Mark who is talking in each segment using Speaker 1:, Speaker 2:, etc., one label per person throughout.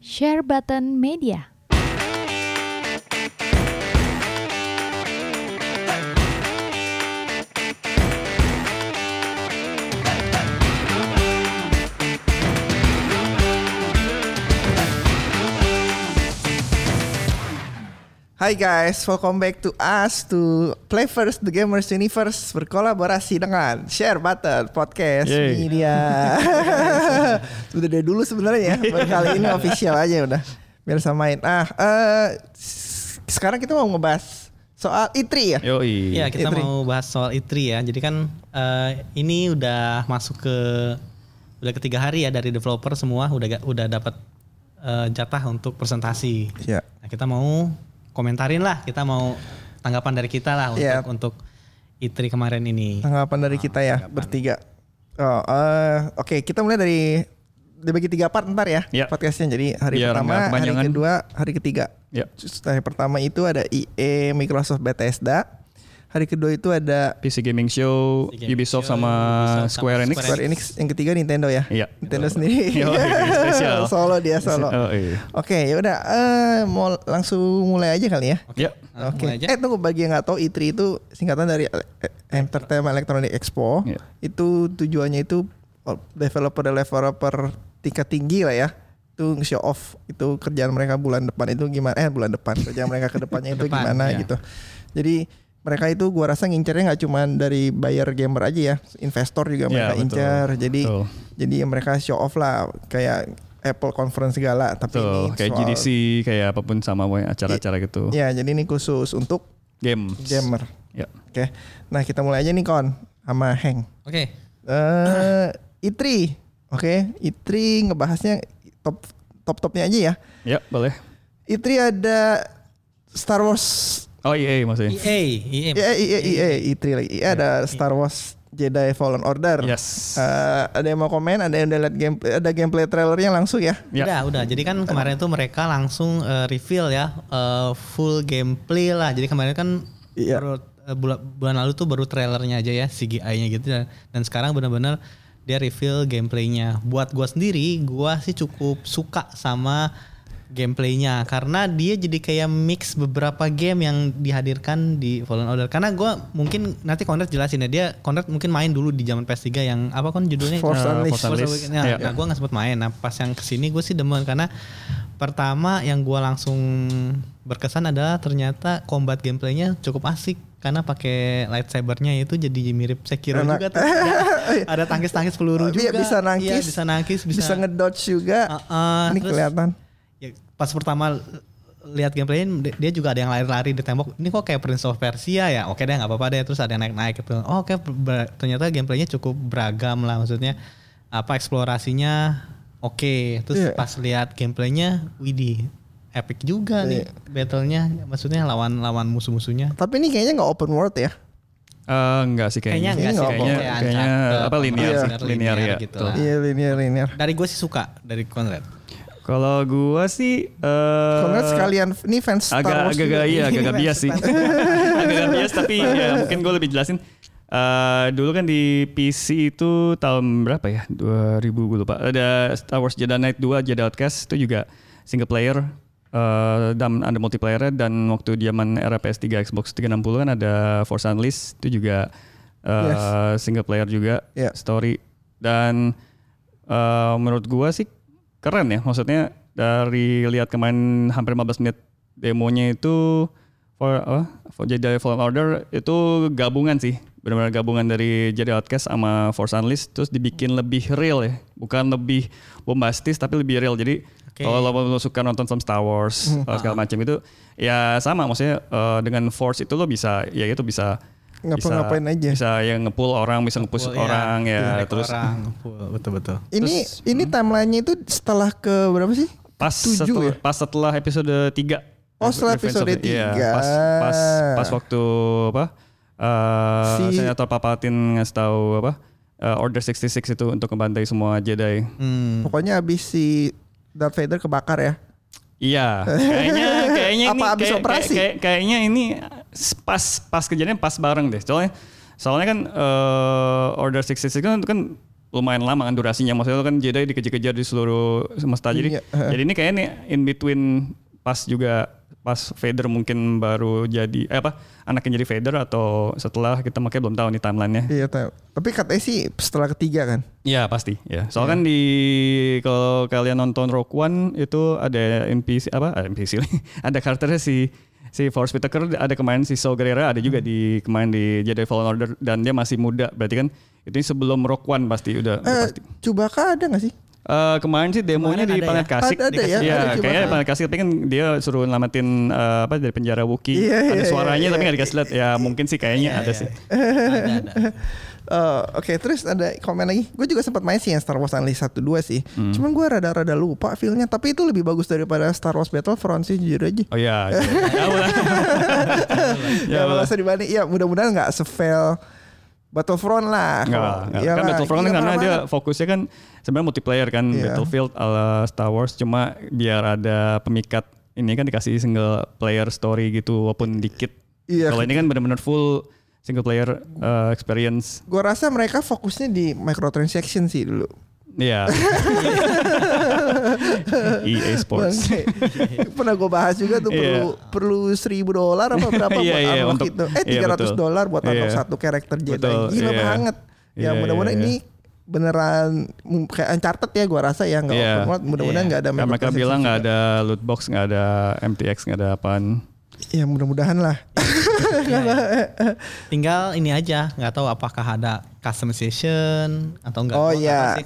Speaker 1: Share Button Media.
Speaker 2: Hai guys, welcome back to us to Play First The Gamers Universe berkolaborasi dengan Share Button Podcast.
Speaker 3: Yeay.
Speaker 2: Ini dia. Sudah dari dulu sebenarnya ya, baru kali ini official aja udah. Biar samain. Ah, eh, s- sekarang kita mau ngebahas soal Itri ya.
Speaker 3: Yoi.
Speaker 4: Iya kita
Speaker 2: Itri.
Speaker 4: mau bahas soal Itri ya. Jadi kan eh, ini udah masuk ke udah ketiga hari ya dari developer semua udah ga- udah dapat eh, jatah untuk presentasi.
Speaker 2: Iya.
Speaker 4: Nah, kita mau komentarin lah, kita mau tanggapan dari kita lah untuk
Speaker 2: Iya.
Speaker 4: untuk Itri kemarin ini.
Speaker 2: Tanggapan
Speaker 3: Ah,
Speaker 2: dari kita ya, bertiga. Oh, eh, Oke, kita mulai dari dibagi tiga part ntar ya
Speaker 3: Ya.
Speaker 2: podcastnya. Jadi hari
Speaker 3: Biar
Speaker 2: pertama,
Speaker 3: nggak
Speaker 2: hari
Speaker 3: kepanjangan.
Speaker 2: kedua, hari ketiga.
Speaker 3: Ya.
Speaker 2: Terus Hari pertama itu ada EA, Microsoft, Bethesda. Hari kedua itu ada
Speaker 3: PC Gaming Show,
Speaker 4: PC Gaming
Speaker 3: Ubisoft
Speaker 4: Show,
Speaker 3: sama
Speaker 4: Ubisoft sama
Speaker 3: Square Enix.
Speaker 4: Square
Speaker 2: Square Enix. Yang ketiga Nintendo ya.
Speaker 3: Iya.
Speaker 2: Nintendo sendiri.
Speaker 3: Yo, spesial.
Speaker 2: solo dia solo.
Speaker 3: Oh, iya.
Speaker 2: Oke, ya udah eh, mau langsung mulai aja kali ya.
Speaker 3: Ya.
Speaker 4: Nah,
Speaker 2: Oke.
Speaker 4: mulai aja.
Speaker 2: Eh tunggu bagi yang nggak tahu E3 itu singkatan dari eh, Entertainment Electronic Expo.
Speaker 3: Iya.
Speaker 2: Itu tujuannya itu oh, developer developer tingkat tinggi lah ya. Itu show off itu kerjaan mereka bulan depan itu gimana? Eh bulan depan kerjaan mereka ke depannya itu
Speaker 4: Depan,
Speaker 2: gimana
Speaker 4: iya.
Speaker 2: gitu. Jadi mereka itu gua rasa ngincernya nggak cuma dari buyer gamer aja ya, investor juga
Speaker 3: Iya,
Speaker 2: mereka
Speaker 3: betul.
Speaker 2: incer. Jadi
Speaker 3: Betul.
Speaker 2: jadi mereka show off lah kayak Apple conference segala tapi ini
Speaker 3: Tuh, kayak
Speaker 2: soal-
Speaker 3: GDC, kayak apapun sama pokoknya acara-acara gitu.
Speaker 2: Ya, jadi ini khusus untuk
Speaker 3: Game.
Speaker 2: gamer.
Speaker 3: Ya.
Speaker 2: Oke, nah kita mulai aja nih kon sama Heng.
Speaker 4: Oke.
Speaker 2: Eh, Itri, oke, Itri ngebahasnya top top topnya aja ya.
Speaker 3: Ya, boleh.
Speaker 2: Itri ada Star Wars,
Speaker 3: Oh, iya iya, maksudnya.
Speaker 4: EA, EA.
Speaker 2: ya iya iya Itri lagi, Iya, ada Star Wars Jedi Fallen Order.
Speaker 3: Yes.
Speaker 2: Eh, ada yang mau komen, ada yang udah lihat game, ada gameplay trailernya langsung ya.
Speaker 3: Ya.
Speaker 4: Udah, udah. Jadi kan kemarin tuh mereka langsung eh, reveal ya eh, full gameplay lah. Jadi kemarin kan
Speaker 2: Iya.
Speaker 4: baru, eh, bula- bulan lalu tuh baru trailernya aja ya CGI-nya gitu dan, dan sekarang benar-benar dia reveal gameplaynya. Buat gua sendiri, gua sih cukup suka sama gameplaynya karena dia jadi kayak mix beberapa game yang dihadirkan di Fallen Order. Karena gua mungkin nanti Konrad jelasin ya dia Konrad mungkin main dulu di zaman PS3 yang apa kon judulnya
Speaker 2: Force
Speaker 3: Eh,
Speaker 2: Unleashed.
Speaker 3: Force Unleashed.
Speaker 4: Nah,
Speaker 3: Ya.
Speaker 2: Iya.
Speaker 4: nah gue nggak sempet main. Nah pas yang kesini gue sih demen karena pertama yang gue langsung berkesan adalah ternyata combat gameplaynya cukup asik karena pakai lightsabernya itu jadi mirip Sekiro
Speaker 2: Enak.
Speaker 4: juga tuh. ada tangkis-tangkis peluru
Speaker 2: Dia Oh,
Speaker 4: juga.
Speaker 2: bisa nangkis,
Speaker 4: Iya, bisa nangkis, bisa,
Speaker 2: Bisa ngedodge juga.
Speaker 4: Uh-uh,
Speaker 2: ini
Speaker 4: terus-
Speaker 2: kelihatan.
Speaker 4: Ya, pas pertama lihat gameplaynya dia juga ada yang lari-lari di tembok ini kok kayak Prince of Persia ya oke deh nggak apa-apa deh terus ada yang naik-naik gitu oh, oke ber- ternyata gameplaynya cukup beragam lah maksudnya apa eksplorasinya oke terus
Speaker 2: Iya.
Speaker 4: pas lihat gameplaynya widih epic juga nih battlenya maksudnya lawan-lawan musuh-musuhnya
Speaker 2: Tapi ini kayaknya nggak open world ya.
Speaker 3: Eh, enggak sih
Speaker 4: kayaknya
Speaker 3: kayaknya.
Speaker 4: enggak sih
Speaker 3: kayaknya,
Speaker 4: kayak
Speaker 3: kayaknya
Speaker 4: Uncharted,
Speaker 3: apa linear,
Speaker 2: Iya.
Speaker 3: sih, linear, ya.
Speaker 4: gitu
Speaker 3: Tuh.
Speaker 4: lah.
Speaker 2: Iya linear linear.
Speaker 4: dari gue sih suka dari Conrad
Speaker 3: Kalau gua sih eh
Speaker 2: Konrad sekalian ini fans Star Wars
Speaker 3: agak agak
Speaker 2: juga.
Speaker 3: iya
Speaker 2: Ini
Speaker 3: agak agak
Speaker 2: fans
Speaker 3: bias sih
Speaker 2: Star-
Speaker 3: agak agak bias tapi ya mungkin gue lebih jelasin Eh dulu kan di PC itu tahun berapa ya 2000 gue lupa ada Star Wars Jedi Knight 2 Jedi Outcast itu juga single player eh dan ada multiplayernya dan waktu zaman era PS3 Xbox 360 kan ada Force Unleashed itu juga eh single player juga
Speaker 2: Iya.
Speaker 3: story dan eh, menurut gua sih keren ya maksudnya dari lihat kemarin hampir 15 menit demonya itu for apa for Jedi Fallen Order itu gabungan sih benar-benar gabungan dari Jedi Outcast sama Force Unleashed terus dibikin lebih real ya bukan lebih bombastis tapi lebih real jadi
Speaker 4: Oke.
Speaker 3: kalau lo mau suka nonton film Star Wars
Speaker 2: Hmm.
Speaker 3: eh,
Speaker 2: Ah.
Speaker 3: segala macam itu ya sama maksudnya eh, dengan Force itu lo bisa ya itu bisa bisa-
Speaker 2: Ngapa-ngapain aja.
Speaker 3: bisa yang ngepull orang bisa ngepush
Speaker 4: Full, iya.
Speaker 3: orang ya,
Speaker 4: Tarik
Speaker 3: terus
Speaker 4: orang full, betul-betul
Speaker 2: Ini ini
Speaker 3: hmm.
Speaker 2: timelinenya itu setelah ke berapa sih?
Speaker 3: pas
Speaker 2: Tujuh
Speaker 3: setelah,
Speaker 2: ya?
Speaker 3: pas setelah episode 3
Speaker 2: Oh, setelah episode tiga.
Speaker 3: iya, pas pas pas waktu apa eh
Speaker 2: Si-
Speaker 3: senator Papatin ngasih tahu apa eh, order 66 itu untuk membantai semua Jedi
Speaker 4: hmm.
Speaker 2: Pokoknya abis si Darth Vader kebakar ya.
Speaker 3: Iya, kayaknya kayaknya ini
Speaker 2: Apa habis
Speaker 3: kayak-
Speaker 2: operasi?
Speaker 3: kayak- kayak- kayaknya ini pas pas kejadian pas bareng deh. Soalnya soalnya kan eh, Order 66 kan, kan lumayan lama kan durasinya maksudnya lo kan Jedi dikejar-kejar di seluruh semesta
Speaker 2: Iya,
Speaker 3: jadi
Speaker 2: heeh.
Speaker 3: jadi ini kayaknya nih in between pas juga pas Vader mungkin baru jadi eh apa anaknya jadi Vader atau setelah kita makanya belum tahu nih timelinenya
Speaker 2: Iya tahu. Tapi katanya sih setelah ketiga kan.
Speaker 3: Iya pasti ya. Soalnya kan di kalau kalian nonton Rogue One itu ada NPC apa Ah, ada NPC lagi. ada karakternya si si Force Whitaker ada kemarin si Saw Gerrera ada juga di kemarin di Jedi Fallen Order dan dia masih muda berarti kan itu sebelum Rogue One pasti udah, udah
Speaker 2: Eh,
Speaker 3: pasti.
Speaker 2: Chewbacca ada nggak sih?
Speaker 3: Eh, kemarin sih demonya
Speaker 4: Kemarin
Speaker 3: di
Speaker 4: ada
Speaker 3: planet
Speaker 4: ya?
Speaker 3: Kasik.
Speaker 2: Ada- ada ya,
Speaker 3: Iya,
Speaker 2: ada
Speaker 3: kayaknya
Speaker 2: Chewbacca.
Speaker 3: di planet Kasik tapi kan dia suruh nyelamatin eh, apa dari penjara Wookiee.
Speaker 2: Iya,
Speaker 3: ada
Speaker 2: iya,
Speaker 3: suaranya
Speaker 2: iya,
Speaker 3: tapi
Speaker 2: iya.
Speaker 3: nggak dikasih lihat. Ya mungkin sih kayaknya ada sih.
Speaker 4: Iya, Ada, ada.
Speaker 2: Eh, Oke terus ada komen lagi Gue juga sempat main sih yang Star Wars Unleashed 1 2 sih
Speaker 3: Hmm.
Speaker 2: Cuman gue rada-rada lupa filmnya Tapi itu lebih bagus daripada Star Wars Battlefront sih jujur aja
Speaker 3: Oh iya. iya. Tahu lah.
Speaker 2: Ya,
Speaker 3: Ya,
Speaker 2: merasa dibanding Ya mudah-mudahan gak sefail Battlefront lah
Speaker 3: Enggak,
Speaker 2: Kalau-
Speaker 3: enggak.
Speaker 2: Iyalah,
Speaker 3: kan Battlefront kan
Speaker 2: gila,
Speaker 3: karena
Speaker 2: parah
Speaker 3: dia
Speaker 2: banget.
Speaker 3: fokusnya kan sebenarnya multiplayer kan
Speaker 2: Iya.
Speaker 3: Battlefield ala Star Wars cuma biar ada pemikat ini kan dikasih single player story gitu walaupun dikit.
Speaker 2: Iya.
Speaker 3: Kalau ini kan benar-benar full single player uh, experience.
Speaker 2: Gue rasa mereka fokusnya di microtransaction sih dulu
Speaker 3: Iya. EA Sports.
Speaker 2: Bangke. Pernah gue bahas juga tuh perlu
Speaker 3: Iya.
Speaker 2: perlu seribu dolar apa berapa buat
Speaker 3: Iya, iya,
Speaker 2: unlock
Speaker 3: untuk-
Speaker 2: itu. Eh
Speaker 3: iya,
Speaker 2: 300
Speaker 3: betul.
Speaker 2: dolar buat unlock
Speaker 3: Iya.
Speaker 2: satu karakter Jedi.
Speaker 3: Betul,
Speaker 2: Gila
Speaker 3: iya.
Speaker 2: banget. Ya
Speaker 3: Iya,
Speaker 2: mudah-mudahan
Speaker 3: iya,
Speaker 2: ini beneran mm, kayak Uncharted ya gue rasa ya nggak
Speaker 3: Iya.
Speaker 2: open world. Mudah-mudahan
Speaker 4: Iya.
Speaker 2: nggak ada
Speaker 3: Karena mereka
Speaker 2: microtransaction
Speaker 3: bilang nggak
Speaker 2: juga.
Speaker 3: ada loot box, nggak ada MTX, nggak ada apaan.
Speaker 2: Ya mudah-mudahan lah.
Speaker 4: Iya, iya. Tinggal ini aja, nggak tahu apakah ada customization atau enggak.
Speaker 2: Oh, iya.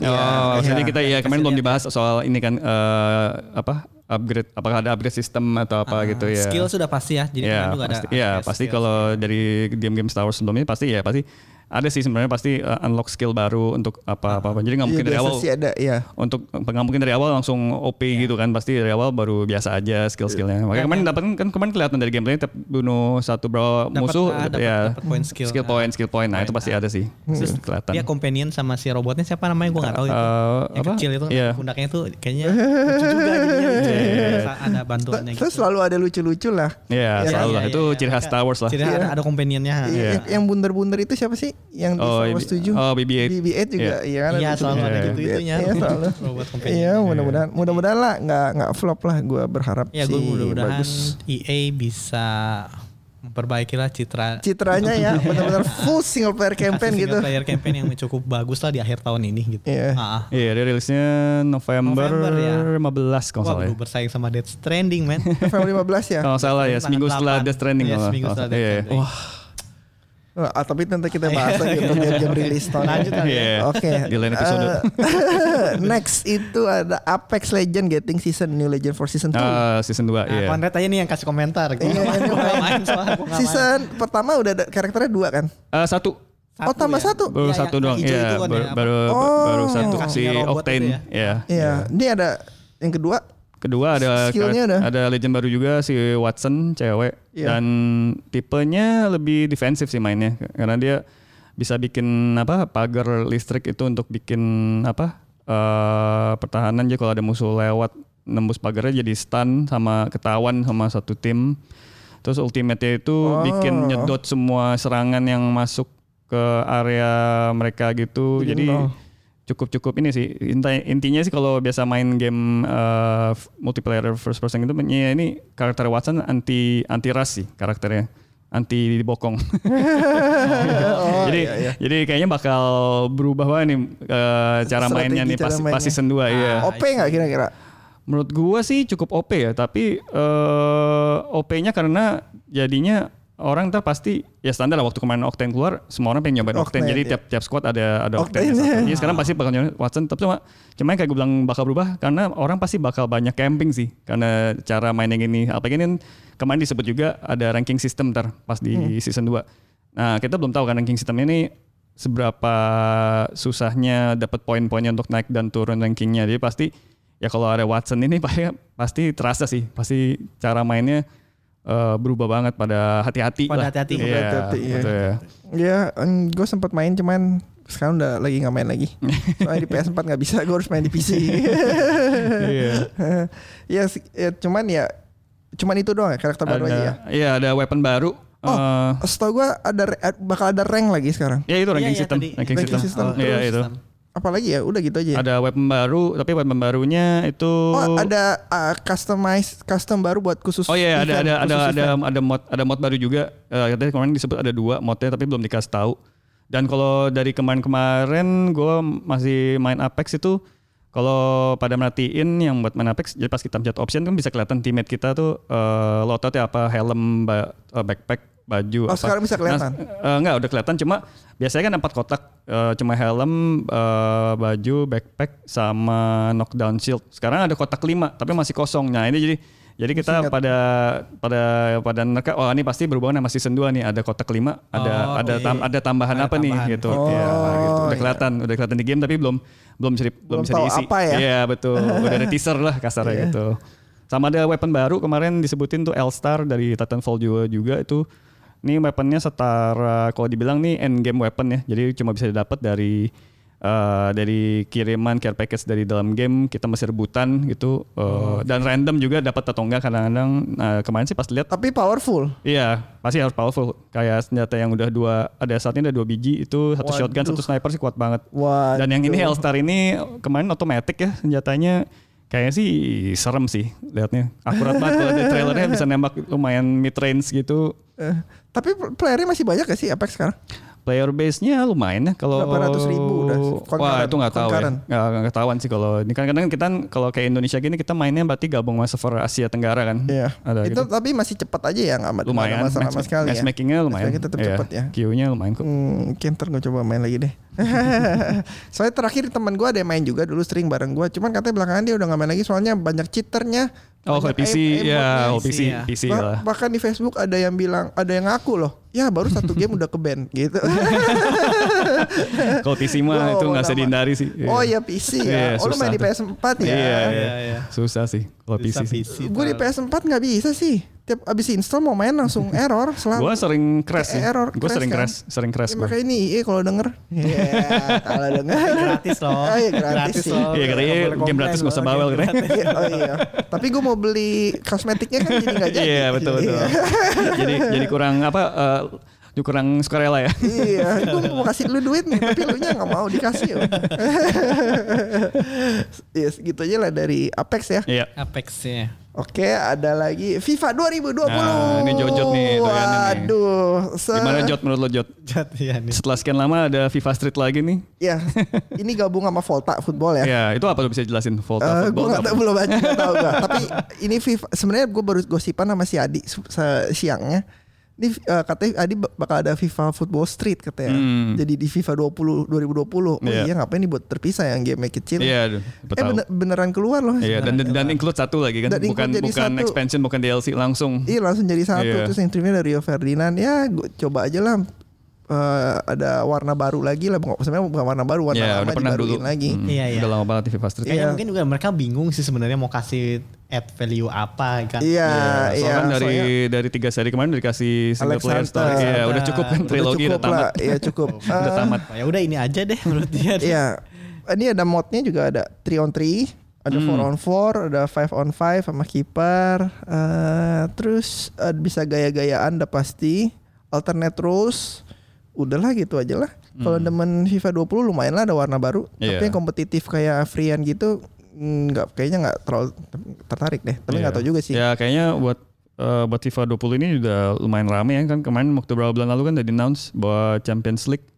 Speaker 3: Oh, jadi kita ya kemarin belum
Speaker 4: Kasih
Speaker 3: dibahas soal ini kan eh, apa upgrade apakah ada upgrade sistem atau apa gitu ya.
Speaker 4: Ah, Skill sudah pasti ya. Jadi
Speaker 3: ya,
Speaker 4: kemarin juga
Speaker 3: pasti,
Speaker 4: ada.
Speaker 3: ya,
Speaker 4: ada
Speaker 3: pasti
Speaker 4: skill.
Speaker 3: kalau dari game-game Star Wars sebelumnya pasti ya pasti ada sih sebenarnya pasti uh, unlock skill baru untuk apa-apa.
Speaker 4: Ah,
Speaker 3: Jadi
Speaker 2: Iya,
Speaker 3: nggak mungkin dari
Speaker 2: biasa
Speaker 3: awal
Speaker 2: sih ada ya.
Speaker 3: untuk nggak mungkin dari awal langsung OP
Speaker 4: Iya.
Speaker 3: gitu kan pasti dari awal baru biasa aja skill-skillnya. Makanya kemarin dapat kan kemarin kelihatan dari gameplay tiap bunuh satu bro
Speaker 4: Dapat,
Speaker 3: musuh
Speaker 4: ah, dapat-
Speaker 3: ya
Speaker 4: dapat poin skill. ah.
Speaker 3: skill point skill point. Nah, itu pasti ada sih. Terus kelihatan.
Speaker 4: Dia ya, companion sama si robotnya siapa namanya gue nggak tahu itu.
Speaker 3: Eh,
Speaker 4: yang
Speaker 3: apa?
Speaker 4: kecil itu
Speaker 3: Iya.
Speaker 4: pundaknya itu kayaknya lucu juga jadinya lucu. Terus ada bantuannya gitu.
Speaker 2: Terus selalu ada lucu-lucu lah.
Speaker 3: Iya,
Speaker 4: Iya,
Speaker 3: selalu
Speaker 4: iya,
Speaker 3: lah.
Speaker 4: iya,
Speaker 3: Itu
Speaker 4: iya.
Speaker 3: ciri khas
Speaker 4: Mereka-
Speaker 3: Star Wars lah.
Speaker 4: Jadi ada, ada companionnya.
Speaker 2: Iya, Yang bundar-bundar itu siapa sih? Yang di
Speaker 3: Oh,
Speaker 2: Star Wars
Speaker 3: iya.
Speaker 2: 7?
Speaker 3: Oh, BB-8.
Speaker 2: BB-8 juga.
Speaker 3: Iya.
Speaker 2: Iya, kan
Speaker 4: Iya,
Speaker 2: lucu
Speaker 4: selalu ada
Speaker 2: banget.
Speaker 4: gitu itunya.
Speaker 2: Iya, selalu.
Speaker 4: Robot companion.
Speaker 2: Iya, mudah-mudahan mudah-mudahan lah nggak nggak flop lah gue berharap
Speaker 4: Ya
Speaker 2: sih
Speaker 4: gue mudah-mudahan
Speaker 2: bagus.
Speaker 4: EA bisa memperbaikilah citra
Speaker 2: Citranya ya benar-benar full single player campaign
Speaker 4: Iya. single
Speaker 2: gitu.
Speaker 4: player campaign yang cukup bagus lah di akhir tahun ini gitu.
Speaker 2: Iya.
Speaker 4: Ah, ah.
Speaker 3: Iya, dia rilisnya November,
Speaker 4: November, ya.
Speaker 3: 15 kalau nggak
Speaker 4: Wah,
Speaker 3: salah. ya.
Speaker 4: baru bersaing sama Death Stranding, man.
Speaker 2: November 15 ya.
Speaker 4: Oh.
Speaker 3: Kalau nggak salah ya,
Speaker 4: Tanggal
Speaker 3: seminggu setelah
Speaker 4: delapan.
Speaker 3: Death Stranding.
Speaker 4: Iya,
Speaker 3: kalau nggak
Speaker 4: seminggu
Speaker 3: salah.
Speaker 4: setelah Death
Speaker 3: Iya, iya.
Speaker 4: Stranding.
Speaker 3: Wah,
Speaker 2: Ah, tapi nanti kita bahas lagi untuk jam rilis tahun.
Speaker 4: Iya. Lanjut kali
Speaker 3: ya.
Speaker 2: Oke.
Speaker 3: Di lain episode.
Speaker 2: Eh, next itu ada Apex Legend Getting Season New Legend for Season 2.
Speaker 3: Ah, season 2
Speaker 4: Nah,
Speaker 3: iya.
Speaker 4: Konrad aja nih yang kasih komentar. Gue
Speaker 2: Iya,
Speaker 4: main,
Speaker 2: iya.
Speaker 4: gua nggak main soalnya gua nggak main.
Speaker 2: season pertama udah ada karakternya dua kan?
Speaker 3: Eh, satu
Speaker 2: oh, tambah satu.
Speaker 3: baru
Speaker 4: Iya,
Speaker 3: satu
Speaker 4: yang-
Speaker 3: doang
Speaker 4: yang hijau
Speaker 3: ya,
Speaker 4: itu kan
Speaker 3: baru
Speaker 4: ya, apa?
Speaker 3: baru, baru
Speaker 2: Oh.
Speaker 3: satu
Speaker 4: Yang
Speaker 3: si
Speaker 4: kasihnya robot
Speaker 3: Octane
Speaker 4: itu ya.
Speaker 3: ya.
Speaker 2: Iya, ini ada yang kedua.
Speaker 3: Kedua ada
Speaker 2: Skillnya
Speaker 3: kar-
Speaker 2: udah.
Speaker 3: ada legend baru juga si Watson cewek
Speaker 2: Iya.
Speaker 3: dan tipenya lebih defensif sih mainnya karena dia bisa bikin apa pagar listrik itu untuk bikin apa eh, pertahanan aja kalau ada musuh lewat nembus pagarnya jadi stun sama ketahuan sama satu tim. Terus ultimate-nya
Speaker 2: Oh.
Speaker 3: itu bikin nyedot semua serangan yang masuk ke area mereka gitu.
Speaker 2: Jadi
Speaker 3: Jadi
Speaker 2: nol.
Speaker 3: cukup-cukup ini sih Inti- intinya sih kalau biasa main game uh, f- multiplayer first person itu ya ini karakter Watson anti anti ras sih karakternya anti dibokong
Speaker 2: Oh,
Speaker 3: jadi
Speaker 2: iya, iya.
Speaker 3: jadi kayaknya bakal berubah banget nih uh, cara
Speaker 2: Strategi
Speaker 3: mainnya nih
Speaker 2: cara
Speaker 3: pas,
Speaker 2: mainnya.
Speaker 3: pas season 2 iya.
Speaker 2: Ah, OP nggak kira-kira?
Speaker 3: menurut gua sih cukup OP ya tapi eh, OP-nya karena jadinya orang ntar pasti ya standar lah waktu kemarin Octane keluar semua orang pengen nyobain
Speaker 2: Octane,
Speaker 3: Octane, jadi
Speaker 2: iya.
Speaker 3: tiap tiap squad ada ada
Speaker 2: Octane.
Speaker 3: Octane, satu. Jadi sekarang pasti bakal nyobain Watson tapi cuma cuma kayak gue bilang bakal berubah karena orang pasti bakal banyak camping sih karena cara main yang ini apalagi ini kan kemarin disebut juga ada ranking system ntar pas di
Speaker 2: Hmm.
Speaker 3: season 2 nah kita belum tahu kan ranking system ini seberapa susahnya dapat poin-poinnya untuk naik dan turun rankingnya jadi pasti ya kalau ada Watson ini pasti pasti terasa sih pasti cara mainnya eh, berubah banget pada hati-hati
Speaker 4: Pada
Speaker 3: lah.
Speaker 4: hati-hati.
Speaker 3: Iya,
Speaker 2: Pada hati-hati, iya.
Speaker 3: betul ya.
Speaker 2: Ya, gue sempat main cuman sekarang udah lagi nggak main lagi. Soalnya di PS4 nggak bisa, gue harus main di PC.
Speaker 3: Iya.
Speaker 2: ya, sih, ya, cuman ya, cuman itu doang ya karakter baru
Speaker 3: Ada-
Speaker 2: aja ya.
Speaker 3: iya, ada weapon baru
Speaker 2: Oh,
Speaker 3: Eh,
Speaker 2: setahu gue ada re- bakal ada rank lagi sekarang.
Speaker 3: ya itu ranking
Speaker 4: Iya, iya,
Speaker 3: system
Speaker 4: tadi. Iya.
Speaker 3: ranking
Speaker 2: Ranking
Speaker 3: system,
Speaker 2: system.
Speaker 3: iya
Speaker 2: Terus
Speaker 3: itu
Speaker 2: Oke, apalagi ya udah gitu aja. ya.
Speaker 3: Ada weapon baru, tapi weapon barunya itu
Speaker 2: oh ada uh, customize custom baru buat khusus.
Speaker 3: Oh iya ada
Speaker 2: event,
Speaker 3: ada ada
Speaker 2: khusus
Speaker 3: ada
Speaker 2: event.
Speaker 3: ada mod ada mod baru juga. Eh, katanya kemarin disebut ada dua modnya tapi belum dikasih tahu. Dan kalau dari kemarin-kemarin gue masih main Apex itu kalau pada merhatiin yang buat main Apex jadi pas kita pencet option kan bisa kelihatan teammate kita tuh eh, loadoutnya apa helm, ba- eh, backpack, baju
Speaker 2: Oh,
Speaker 3: apa.
Speaker 2: sekarang bisa kelihatan?
Speaker 3: Nah, eh, enggak udah kelihatan cuma biasanya kan empat kotak Eh, cuma helm, eh, baju, backpack sama knockdown shield. Sekarang ada kotak lima tapi masih kosong. Nah, ini jadi jadi kita pada pada pada nerka oh ini pasti berhubungan sama season 2 nih ada kotak lima ada
Speaker 4: Oh,
Speaker 3: ada
Speaker 4: oke.
Speaker 3: tam- ada tambahan
Speaker 4: Ada
Speaker 3: apa
Speaker 4: tambahan.
Speaker 3: nih gitu.
Speaker 2: iya. Oh,
Speaker 3: Iya, gitu.
Speaker 2: iya.
Speaker 3: Udah kelihatan, udah kelihatan di game tapi belum belum bisa di- belum
Speaker 2: Belum
Speaker 3: bisa
Speaker 2: tahu
Speaker 3: diisi.
Speaker 2: apa ya?
Speaker 3: Iya, betul. Udah ada teaser lah kasarnya gitu. Sama ada weapon baru kemarin disebutin tuh Elstar dari Titanfall juga juga itu ini weaponnya setara kalau dibilang nih end game weapon ya. Jadi cuma bisa didapat dari eh, dari kiriman care package dari dalam game kita masih rebutan gitu Eh, dan random juga dapat atau enggak kadang-kadang nah, kemarin sih pas lihat
Speaker 2: Tapi powerful.
Speaker 3: Iya, pasti harus powerful. Kayak senjata yang udah dua, ada saatnya ada dua biji itu satu
Speaker 2: Waduh.
Speaker 3: shotgun, satu sniper sih kuat banget.
Speaker 2: Wah.
Speaker 3: Dan yang ini Elstar ini kemarin otomatis ya senjatanya kayaknya sih serem sih liatnya. Akurat banget kalau ada trailernya bisa nembak lumayan mid range gitu.
Speaker 2: Eh, tapi playernya masih banyak gak sih Apex sekarang?
Speaker 3: Player base-nya lumayan ya kalau
Speaker 2: Berapa ratus ribu udah,
Speaker 3: Wah
Speaker 2: concurrent,
Speaker 3: itu nggak tahu ya.
Speaker 2: concurrent.
Speaker 3: Nggak, nggak ketahuan sih kalau ini kan kadang kita kalau kayak Indonesia gini kita mainnya berarti gabung sama server Asia Tenggara kan.
Speaker 2: Iya.
Speaker 3: Ada
Speaker 2: Itu
Speaker 3: gitu.
Speaker 2: tapi masih cepat aja ya nggak ada- nggak ada
Speaker 3: lumayan
Speaker 2: masalah sama
Speaker 3: matchma-
Speaker 2: sekali ya.
Speaker 3: matchmakingnya lumayan
Speaker 2: Matchmaking tetap
Speaker 3: Iya,
Speaker 2: cepat ya.
Speaker 3: Q-nya lumayan kok
Speaker 2: Hmm, mungkin ntar gue coba main lagi deh. soalnya terakhir teman gue ada yang main juga dulu sering bareng gue. Cuman katanya belakangan dia udah nggak main lagi soalnya banyak cheaternya.
Speaker 3: Oh, kalau
Speaker 2: banyak
Speaker 3: PC,
Speaker 2: aim- aimotnya.
Speaker 3: ya, kalau
Speaker 4: PC,
Speaker 3: PC,
Speaker 4: ya.
Speaker 3: PC
Speaker 2: Bah-
Speaker 3: lah.
Speaker 2: bahkan di Facebook ada yang bilang ada yang ngaku loh. Ya baru satu game udah ke ban gitu.
Speaker 3: Kalau PC mah
Speaker 2: Oh,
Speaker 3: itu nggak bisa
Speaker 2: lama.
Speaker 3: dihindari sih.
Speaker 2: oh ya PC ya.
Speaker 3: Iya,
Speaker 2: oh lu
Speaker 3: susah
Speaker 2: main di
Speaker 3: tuh.
Speaker 2: PS4 ya.
Speaker 3: Iya,
Speaker 4: Iya,
Speaker 3: iya.
Speaker 4: iya.
Speaker 3: Susah sih kalau PC.
Speaker 4: Bisa
Speaker 3: sih.
Speaker 2: Gue di
Speaker 4: taruh.
Speaker 2: PS4 nggak bisa sih. Tiap abis install mau main langsung error selalu.
Speaker 3: Gua sering crash sih.
Speaker 2: Kayak error,
Speaker 3: Gua
Speaker 2: crash
Speaker 3: sering
Speaker 2: kan?
Speaker 3: crash, sering crash
Speaker 2: Ya,
Speaker 3: gua.
Speaker 2: makanya ini IE kalau denger. Iya, kalau denger.
Speaker 4: gratis loh.
Speaker 2: Oh, iya, gratis sih.
Speaker 3: Iya, katanya
Speaker 4: Nggak boleh
Speaker 3: game
Speaker 4: komplain
Speaker 3: gratis nggak usah
Speaker 4: loh,
Speaker 3: bawel,
Speaker 4: game
Speaker 3: katanya.
Speaker 4: gratis.
Speaker 2: Iya, oh iya. Tapi gue mau beli kosmetiknya kan jadi nggak jadi.
Speaker 3: Iya, betul betul.
Speaker 2: Iya.
Speaker 3: jadi jadi kurang apa eh, kurang sukarela ya.
Speaker 2: Iya, gue mau kasih lu duit nih, tapi lu nya nggak mau dikasih. Om. Iya, segitu aja lah dari Apex ya.
Speaker 3: Iya.
Speaker 4: Apex-nya.
Speaker 2: Oke, ada lagi FIFA 2020.
Speaker 3: Nah, ini jojot nih, tuh kan ini.
Speaker 2: Waduh, se-
Speaker 3: Gimana Jot menurut lo Jot?
Speaker 4: Jat ya nih.
Speaker 3: Setelah sekian lama ada FIFA Street lagi nih.
Speaker 2: Ya, ini gabung sama Volta Football ya.
Speaker 3: Ya, itu apa lo bisa jelasin? Volta
Speaker 2: Eh, gue
Speaker 3: Football
Speaker 2: nggak
Speaker 3: apa?
Speaker 2: tahu belum aja nggak tahu gua. Tapi ini FIFA sebenarnya gue baru gosipan sama si Adi se- se- siangnya. Ini eh, katanya Adi bak- bakal ada FIFA Football Street katanya.
Speaker 3: Hmm.
Speaker 2: Jadi di FIFA 20 2020. Oh
Speaker 3: Iya.
Speaker 2: iya ngapain dibuat terpisah yang game kecil.
Speaker 3: Iya, aduh,
Speaker 2: eh
Speaker 3: siapa tahu.
Speaker 2: bener- beneran keluar loh.
Speaker 3: Iya, dan dan include satu lagi kan,
Speaker 2: Dan include
Speaker 3: bukan
Speaker 2: jadi
Speaker 3: bukan
Speaker 2: satu.
Speaker 3: expansion, bukan DLC langsung.
Speaker 2: Iya langsung jadi satu
Speaker 3: Iya.
Speaker 2: terus yang trimnya dari Rio Ferdinand ya gua coba aja lah eh, ada warna baru lagi lah Bukan- sebenarnya bukan warna baru warna
Speaker 3: Iya,
Speaker 2: lama
Speaker 3: udah pernah
Speaker 2: dibaruin
Speaker 3: dulu.
Speaker 2: lagi.
Speaker 3: Hmm,
Speaker 4: Iya, iya.
Speaker 3: Udah lama banget nih FIFA Street.
Speaker 4: Kayaknya
Speaker 2: Iya.
Speaker 4: mungkin juga mereka bingung sih sebenarnya mau kasih add value apa kan.
Speaker 2: Iya,
Speaker 3: Soalnya
Speaker 2: iya.
Speaker 3: kan dari
Speaker 2: soalnya-
Speaker 3: dari tiga seri kemarin udah dikasih single player
Speaker 2: Alexander.
Speaker 3: story. Iya,
Speaker 4: Alexander.
Speaker 3: udah cukup kan
Speaker 4: Udah
Speaker 3: trilogi udah
Speaker 2: cukup
Speaker 3: tamat.
Speaker 2: lah, Iya cukup.
Speaker 3: Udah
Speaker 2: Eh,
Speaker 3: tamat.
Speaker 4: Ya udah ini aja deh menurut dia.
Speaker 2: Iya. Ini ada modnya juga ada 3 on 3, ada 4 on
Speaker 3: Hmm.
Speaker 2: 4, ada 5 on 5 sama kiper. Eh, terus eh, bisa gaya-gayaan udah pasti. Alternate rules. Udahlah gitu aja lah. Kalau demen FIFA 20 lumayan lah ada warna baru.
Speaker 3: Hmm. Iya.
Speaker 2: Tapi yang kompetitif kayak Frian gitu nggak kayaknya nggak terlalu tertarik deh. Tapi nggak
Speaker 3: Iya.
Speaker 2: tahu juga sih.
Speaker 3: Ya kayaknya buat eh, buat FIFA 20 ini udah lumayan rame ya kan kemarin waktu berapa bulan lalu kan udah di announce bahwa Champions League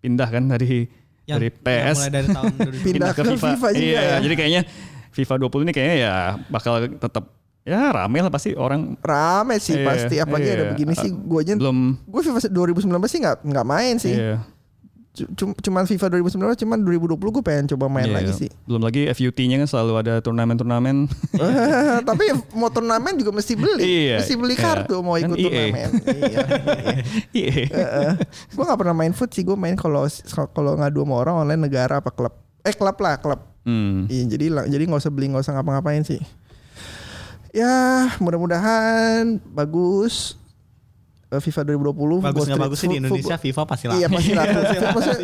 Speaker 3: pindah kan dari
Speaker 4: Yang-
Speaker 3: dari
Speaker 4: yang
Speaker 3: PS
Speaker 4: mulai dari tahun
Speaker 3: pindah, ke, FIFA.
Speaker 2: juga
Speaker 3: iya,
Speaker 2: ya.
Speaker 3: jadi kayaknya FIFA 20 ini kayaknya ya bakal tetap ya rame lah pasti orang
Speaker 2: Rame sih
Speaker 3: Iya,
Speaker 2: pasti apalagi
Speaker 3: iya.
Speaker 2: ada begini sih gue aja
Speaker 3: belum
Speaker 2: gue FIFA 2019 sih nggak nggak main sih.
Speaker 3: iya.
Speaker 2: Cu- cum- cuman FIFA 2019 cuman 2020 gue pengen coba main
Speaker 3: Iya,
Speaker 2: lagi
Speaker 3: iya.
Speaker 2: sih
Speaker 3: Belum lagi FUT-nya kan selalu ada turnamen-turnamen.
Speaker 2: tapi mau turnamen juga mesti beli
Speaker 3: Iya,
Speaker 2: mesti beli
Speaker 3: iya.
Speaker 2: kartu mau
Speaker 3: Kan
Speaker 2: ikut
Speaker 3: EA.
Speaker 2: turnamen iya.
Speaker 3: Iya.
Speaker 2: Eh, gue nggak pernah main foot sih gue main kalau kalau ngadu sama orang online negara apa klub eh klub lah klub
Speaker 3: Hmm.
Speaker 2: Iya, jadi lang- jadi nggak usah beli nggak usah ngapa-ngapain sih ya mudah-mudahan bagus Eh eh, FIFA 2020
Speaker 4: Bagus
Speaker 2: Football
Speaker 4: nggak
Speaker 2: Street-
Speaker 4: bagus sih di
Speaker 2: Fu-
Speaker 4: Indonesia FIFA pasti laku.
Speaker 2: Iya pasti laku. Maksudnya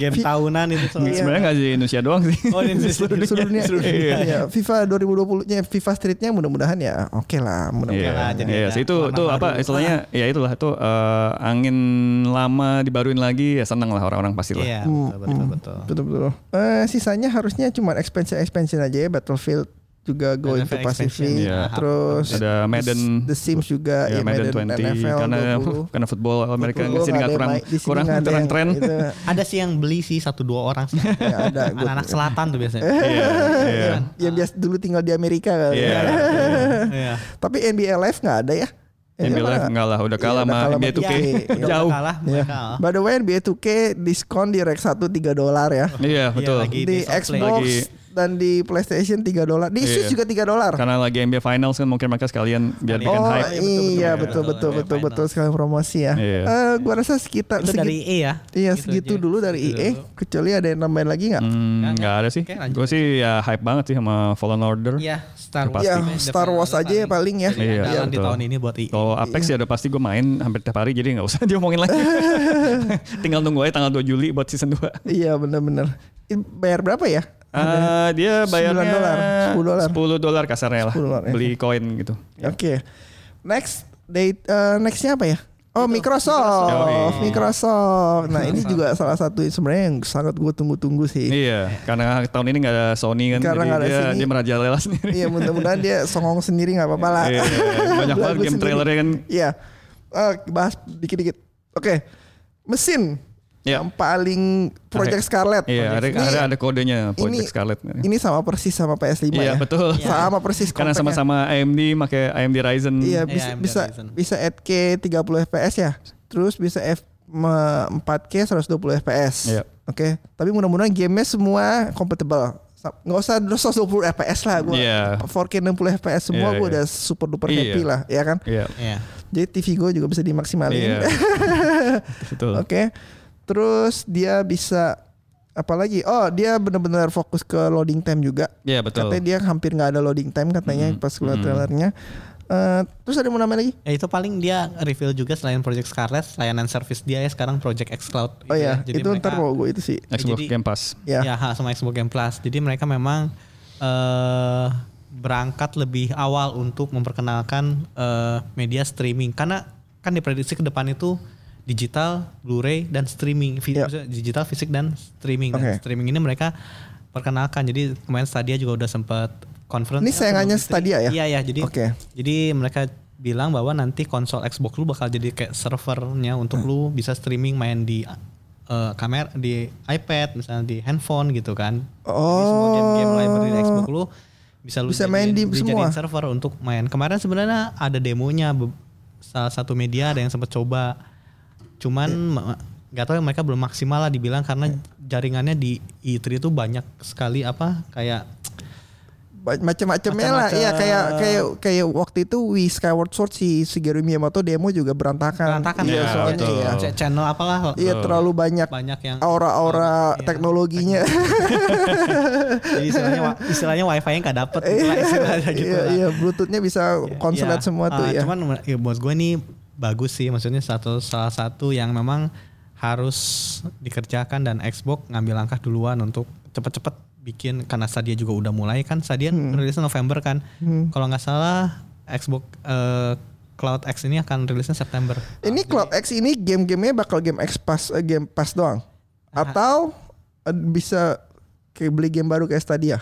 Speaker 4: Game
Speaker 2: Fi-
Speaker 4: tahunan itu selalu.
Speaker 3: Sebenarnya nggak di Indonesia doang sih.
Speaker 4: Iya. Oh, di Indonesia.
Speaker 3: Seluruh
Speaker 2: seluruh dunia.
Speaker 3: Seluruh dunia.
Speaker 2: Iya, FIFA 2020-nya ya, FIFA Streetnya mudah-mudahan ya oke lah
Speaker 3: Iya,
Speaker 2: mudah-mudahan.
Speaker 4: lah, jadi
Speaker 3: iya
Speaker 4: ada
Speaker 3: sih, itu
Speaker 4: warna
Speaker 3: itu
Speaker 4: baru. Ah.
Speaker 3: apa istilahnya? Ya itulah itu eh, angin lama dibaruin lagi ya seneng lah orang-orang pasti lah.
Speaker 4: Iya,
Speaker 2: Hmm.
Speaker 4: betul, betul, betul.
Speaker 2: Betul-betul. Eh sisanya harusnya cuma expansion-expansion aja ya Battlefield juga going to
Speaker 4: NFL
Speaker 2: Pacific,
Speaker 4: expansion.
Speaker 3: Iya.
Speaker 2: terus
Speaker 3: Ada Madden.
Speaker 2: The Sims juga,
Speaker 3: Ya,
Speaker 2: ya,
Speaker 3: Madden 20
Speaker 2: NFL
Speaker 3: karena
Speaker 2: 20.
Speaker 3: karena football Amerika
Speaker 2: Betul,
Speaker 3: di
Speaker 2: nggak
Speaker 3: sini
Speaker 2: ada
Speaker 3: nggak
Speaker 2: yang
Speaker 3: kurang
Speaker 2: main- di sini
Speaker 3: kurang Iya.
Speaker 2: nggak ada
Speaker 3: kurang
Speaker 2: yang gitu.
Speaker 3: tren.
Speaker 2: itu.
Speaker 4: Ada sih yang beli sih satu dua orang sih.
Speaker 2: Ya, Hmm. ada. Gua-
Speaker 4: Anak-anak selatan tuh biasanya.
Speaker 3: Iya, iya.
Speaker 2: yang biasa dulu tinggal di Amerika kali
Speaker 3: Iya.
Speaker 2: ya.
Speaker 4: Iya.
Speaker 2: Tapi NBA Live nggak ada ya?
Speaker 3: NBA Live
Speaker 2: nggak-
Speaker 3: enggak lah, udah
Speaker 2: Iya,
Speaker 3: kalah
Speaker 2: udah
Speaker 3: sama
Speaker 2: kalah
Speaker 3: NBA
Speaker 2: sama
Speaker 3: 2K.
Speaker 2: 2K.
Speaker 4: Udah
Speaker 3: Jauh.
Speaker 4: kalah
Speaker 2: Ya.
Speaker 4: mereka.
Speaker 2: By the way NBA 2K diskon di Rek 1 3 dolar ya.
Speaker 3: Iya, betul.
Speaker 4: lagi. Di
Speaker 2: Di
Speaker 4: Soundplay.
Speaker 2: Xbox
Speaker 3: Lagi.
Speaker 2: dan di PlayStation 3 dolar. Di Switch
Speaker 3: Iya.
Speaker 2: juga 3 dolar.
Speaker 3: Karena lagi NBA Finals kan mungkin mereka sekalian biar
Speaker 4: Oh,
Speaker 3: bikin
Speaker 2: Oh
Speaker 3: hype. Hmm,
Speaker 2: iya
Speaker 4: iya,
Speaker 2: betul betul
Speaker 4: betul, betul,
Speaker 2: betul
Speaker 4: betul.
Speaker 2: betul sekali promosi ya.
Speaker 3: Iya.
Speaker 2: Eh, gua rasa sekitar
Speaker 4: Itu
Speaker 2: segit-
Speaker 4: dari EA ya.
Speaker 2: Iya
Speaker 4: Gitu
Speaker 2: segitu
Speaker 4: aja.
Speaker 2: dulu dari E.
Speaker 4: Segitu
Speaker 2: EA.
Speaker 4: dulu.
Speaker 2: Kecuali ada yang nambahin lagi nggak?
Speaker 3: Hmm, nggak ada sih.
Speaker 4: Oke, lanjut
Speaker 3: Gue sih ya hype banget sih sama Fallen Order.
Speaker 4: Iya, Star Wars.
Speaker 2: Ya
Speaker 4: juga
Speaker 2: Star
Speaker 4: develop
Speaker 2: Wars aja ya paling ya.
Speaker 4: Jadi
Speaker 3: Iya,
Speaker 4: andalan di
Speaker 3: betul.
Speaker 4: tahun ini buat E. EA.
Speaker 3: Kalau
Speaker 2: Iya.
Speaker 3: Apex ya udah pasti gue main hampir tiap hari jadi nggak usah diomongin lagi. Tinggal nunggu aja tanggal 2 Juli buat season 2.
Speaker 2: Iya benar-benar. Ini Bayar berapa ya?
Speaker 3: Eh dia
Speaker 2: 9
Speaker 3: bayarnya
Speaker 2: dolar, 10 dolar.
Speaker 3: 10 dolar kasarnya lah.
Speaker 2: 10 dolar, ya.
Speaker 3: Beli koin gitu.
Speaker 2: Oke. Next date eh, nextnya apa ya? Oh Microsoft,
Speaker 3: Microsoft.
Speaker 2: Microsoft. Nah ini juga salah satu salah satu sebenarnya yang sangat gue tunggu-tunggu sih.
Speaker 3: Iya, karena tahun ini nggak ada Sony kan,
Speaker 2: Karena
Speaker 3: jadi
Speaker 2: nggak ada
Speaker 3: dia,
Speaker 2: Sony.
Speaker 3: dia merajalela sendiri.
Speaker 2: Iya mudah-mudahan dia songong sendiri nggak apa-apa lah.
Speaker 3: Iya, banyak banget
Speaker 2: Lagu
Speaker 3: game
Speaker 2: sendiri.
Speaker 3: trailernya kan.
Speaker 2: Iya. Eh, bahas dikit-dikit. Oke. Mesin
Speaker 3: Iya.
Speaker 2: yang paling Project Scarlet.
Speaker 3: Iya, ada,
Speaker 2: Ini-
Speaker 3: ada, ada
Speaker 2: ini-
Speaker 3: kodenya Project Scarlet.
Speaker 2: Ini sama persis sama PS5 ya.
Speaker 3: Iya, betul.
Speaker 2: Sama persis
Speaker 3: Karena
Speaker 2: compactnya.
Speaker 3: sama-sama AMD pakai AMD Ryzen.
Speaker 2: Iya,
Speaker 4: Iya,
Speaker 2: bisa
Speaker 4: AMD
Speaker 2: bisa
Speaker 4: Ryzen.
Speaker 2: bisa 8K 30 FPS ya. Terus bisa F me- 4K 120 FPS.
Speaker 3: Iya.
Speaker 2: Oke, tapi mudah-mudahan gamenya semua compatible. Sa- Nggak usah 120 FPS lah gue.
Speaker 3: Iya.
Speaker 2: 4K 60 FPS semua
Speaker 3: Iya,
Speaker 2: gue
Speaker 3: iya.
Speaker 2: udah super duper
Speaker 3: Iya.
Speaker 2: happy lah, ya kan?
Speaker 3: Iya.
Speaker 4: Iya.
Speaker 2: Jadi TV gue juga bisa
Speaker 3: Iya.
Speaker 2: dimaksimalin.
Speaker 3: Betul.
Speaker 2: Oke. Terus dia bisa apalagi? Oh, dia benar-benar fokus ke loading time juga.
Speaker 3: Iya, betul. Hmm.
Speaker 2: Katanya dia hampir nggak ada loading time katanya pas gue liat trailernya. Eh, terus ada yang mau nambahin lagi?
Speaker 4: Ya itu paling dia reveal juga selain Project Scarlet, layanan service dia ya sekarang Project xCloud.
Speaker 2: Oh
Speaker 4: gitu
Speaker 2: ya,
Speaker 4: ya. Jadi
Speaker 2: itu
Speaker 4: mereka-
Speaker 2: ntar mau gue itu sih.
Speaker 3: Xbox
Speaker 4: Jadi-
Speaker 3: Game Pass.
Speaker 2: Ya.
Speaker 4: Ya, ha, sama Xbox Game Plus. Jadi mereka memang eh berangkat lebih awal untuk memperkenalkan eh, media streaming karena kan diprediksi ke depan itu digital, Blu-ray dan streaming, Fi-
Speaker 2: Ya.
Speaker 4: maksudnya digital, fisik dan streaming.
Speaker 2: Oke.
Speaker 4: Dan streaming ini mereka perkenalkan. Jadi kemarin Stadia juga udah sempat conference.
Speaker 2: Ini sayangannya Stadia ya?
Speaker 4: Iya ya, jadi
Speaker 2: Oke.
Speaker 4: jadi mereka bilang bahwa nanti konsol Xbox lu bakal jadi kayak servernya
Speaker 2: Hmm.
Speaker 4: untuk lu bisa streaming main di eh, kamera di iPad misalnya di handphone gitu kan. Jadi semua game-game
Speaker 2: Oh.
Speaker 4: library di Xbox lu bisa lu
Speaker 2: Bisa main di semua?
Speaker 4: dijadiin server untuk main. Kemarin sebenarnya ada demonya be- salah satu media ada yang sempat coba. Cuman
Speaker 2: Iya.
Speaker 4: ma- nggak tahu ya, mereka belum maksimal lah dibilang karena jaringannya di E3 itu banyak sekali apa kayak
Speaker 2: Ba- Macam-macamnya lah. Iya kayak kayak kayak waktu itu Wii Skyward Sword si Shigeru Miyamoto demo juga berantakan.
Speaker 4: berantakan
Speaker 2: Iya,
Speaker 3: ya,
Speaker 2: soalnya
Speaker 3: betul.
Speaker 2: iya.
Speaker 4: Ch- channel apalah
Speaker 2: Iya terlalu banyak Oh.
Speaker 4: banyak yang
Speaker 2: aura-aura
Speaker 4: Iya.
Speaker 2: teknologinya.
Speaker 4: Jadi istilahnya wa- istilahnya wifi-nya nggak dapet gitu lah istilahnya gitu
Speaker 2: iya,
Speaker 4: lah.
Speaker 2: iya, Bluetoothnya bisa konslet
Speaker 4: Iya.
Speaker 2: semua tuh
Speaker 4: Ah,
Speaker 2: ya.
Speaker 4: Cuman ya, buat gue nih bagus sih maksudnya satu salah satu yang memang harus dikerjakan dan Xbox ngambil langkah duluan untuk cepet-cepet bikin karena Stadia juga udah mulai kan Stadia
Speaker 2: Hmm.
Speaker 4: rilisnya November kan. Kalau nggak salah Xbox eh, Cloud X ini akan rilisnya September.
Speaker 2: ini Cloud X ini game-gamenya bakal game X Pass eh, game Pass doang.
Speaker 4: Ah.
Speaker 2: Atau eh, bisa kayak beli game baru kayak Stadia.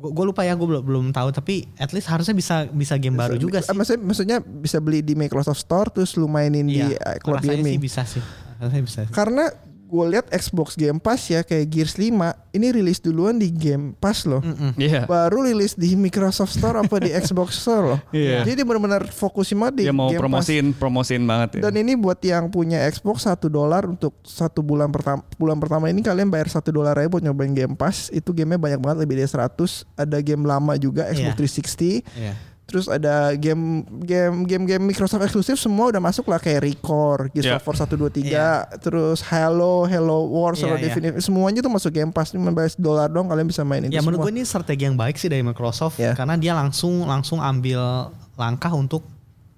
Speaker 4: Gue lupa ya gue belum belum tahu tapi at least harusnya bisa bisa game baru juga
Speaker 2: Ah,
Speaker 4: sih.
Speaker 2: Maksudnya, maksudnya bisa beli di Microsoft Store terus lu mainin di eh, Cloud
Speaker 4: Iya, rasanya
Speaker 2: Gaming.
Speaker 4: sih bisa sih. Rasanya bisa. sih.
Speaker 2: Karena gue lihat Xbox Game Pass ya kayak Gears 5 ini rilis duluan di Game Pass loh.
Speaker 3: Iya.
Speaker 2: Baru rilis di Microsoft Store apa di Xbox Store loh.
Speaker 3: Iya.
Speaker 2: Jadi benar-benar fokusin banget di
Speaker 3: Dia mau
Speaker 2: Game Pass.
Speaker 3: promosiin, promosiin banget ya.
Speaker 2: Dan ini buat yang punya Xbox satu dolar untuk satu bulan pertama bulan pertama ini kalian bayar satu dolar aja buat nyobain Game Pass. Itu gamenya banyak banget lebih dari 100. Ada game lama juga Xbox
Speaker 4: Iya.
Speaker 2: 360.
Speaker 4: Iya.
Speaker 2: Terus ada game game game game Microsoft eksklusif semua udah masuk lah kayak Record, Gears
Speaker 3: Iya.
Speaker 2: of War 123, terus Halo, Halo Wars,
Speaker 4: Iya,
Speaker 2: Halo
Speaker 4: iya.
Speaker 2: Definitive, semuanya tuh masuk Game Pass cuma bayar dolar dong kalian bisa main itu
Speaker 4: Ya menurut
Speaker 2: semua. Iya,
Speaker 4: gue ini strategi yang baik sih dari Microsoft
Speaker 2: Ya.
Speaker 4: karena dia langsung langsung ambil langkah untuk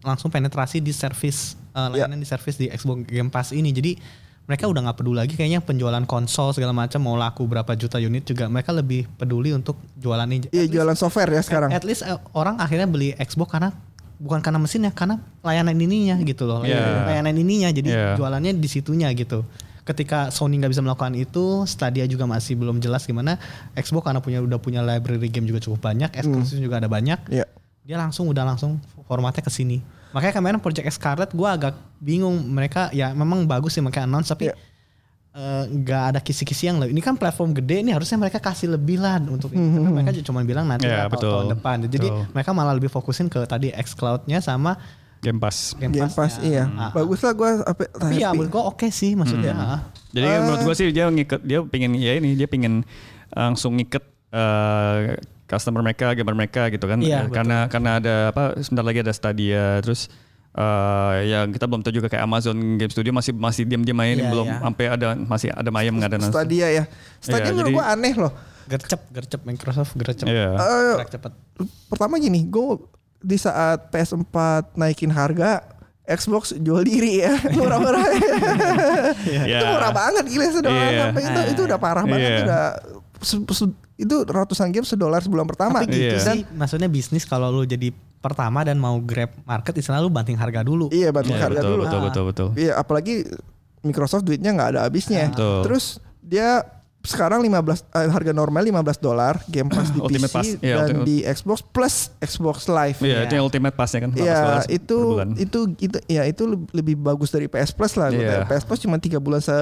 Speaker 4: langsung penetrasi di service eh,
Speaker 2: Iya.
Speaker 4: layanan di service di Xbox Game Pass ini. Jadi mereka udah nggak peduli lagi kayaknya penjualan konsol segala macam mau laku berapa juta unit juga mereka lebih peduli untuk jualan ini.
Speaker 2: Iya jualan software ya sekarang.
Speaker 4: At least eh, orang akhirnya beli Xbox karena bukan karena mesinnya, karena layanan ininya gitu loh.
Speaker 3: Yeah.
Speaker 4: Layanan ininya jadi
Speaker 3: Yeah.
Speaker 4: jualannya di situnya gitu. Ketika Sony nggak bisa melakukan itu, Stadia juga masih belum jelas gimana. Xbox karena punya udah punya library game juga cukup banyak, eksklusif juga ada banyak.
Speaker 2: Iya.
Speaker 4: Dia langsung udah langsung formatnya ke sini. Makanya kemarin Project Scarlet gua agak bingung mereka ya memang bagus sih mereka announce tapi
Speaker 2: Iya.
Speaker 4: eh, nggak ada kisi-kisi yang lebih. Ini kan platform gede ini harusnya mereka kasih lebih lah untuk ini.
Speaker 2: Mhm.
Speaker 4: Tapi mereka cuma bilang nanti
Speaker 3: Iya,
Speaker 4: atau
Speaker 3: betul.
Speaker 4: tahun depan. Jadi
Speaker 3: Betul.
Speaker 4: mereka malah lebih fokusin ke tadi xCloud-nya sama
Speaker 3: Game Pass.
Speaker 4: Game Ah.
Speaker 2: Game Pass iya. Bagus Mhm. lah gue apa
Speaker 4: Tapi ya menurut gua oke sih maksudnya. Ah.
Speaker 3: Jadi menurut gua sih dia ngikat dia pingin ya ini dia pingin langsung ngikat eh, customer mereka, gamer mereka gitu kan. Eh,
Speaker 4: Iya,
Speaker 3: karena karena ada apa sebentar lagi ada Stadia terus eh, ya kita belum tahu juga kayak Amazon Game Studio masih masih diam-diam aja nih,
Speaker 4: Iya,
Speaker 3: belum
Speaker 4: iya.
Speaker 3: sampai ada masih ada mayem nggak ada nanti.
Speaker 2: Stadia ya. Stadia
Speaker 3: Iya,
Speaker 2: menurut
Speaker 3: jadi-
Speaker 2: gue aneh loh.
Speaker 4: Gercep, gercep Microsoft gercep.
Speaker 3: Iya.
Speaker 2: Eh,
Speaker 4: Gerak cepet.
Speaker 2: pertama gini, gue di saat PS4 naikin harga, Xbox jual diri ya murah-murah.
Speaker 3: Iya.
Speaker 2: Itu murah banget gila sedolar
Speaker 3: Iya.
Speaker 2: sampai itu itu udah parah banget
Speaker 3: Iya.
Speaker 2: udah se- se- itu ratusan game sedolar sebulan pertama.
Speaker 4: Tapi gitu
Speaker 3: Iya.
Speaker 4: sih maksudnya bisnis kalau lu jadi pertama dan mau grab market istilah lu banting harga dulu.
Speaker 2: Iya bantu
Speaker 3: Iya,
Speaker 2: harga
Speaker 3: betul,
Speaker 2: dulu.
Speaker 3: betul betul betul. Iya,
Speaker 2: Iya apalagi Microsoft duitnya nggak ada habisnya.
Speaker 3: Betul.
Speaker 2: Terus dia sekarang 15 eh, harga normal 15 dolar Game Pass di
Speaker 3: Ultimate
Speaker 2: PC
Speaker 3: Pass, iya,
Speaker 2: dan
Speaker 3: ultimate-
Speaker 2: di Xbox plus Xbox Live.
Speaker 3: Iya, itu yang ultimate pass-nya kan. 100
Speaker 2: Iya
Speaker 3: dolar
Speaker 2: itu
Speaker 3: per bulan.
Speaker 2: itu itu ya itu leb- lebih bagus dari PS Plus lah. menurut
Speaker 3: Iya.
Speaker 2: saya. PS Plus cuma tiga bulan se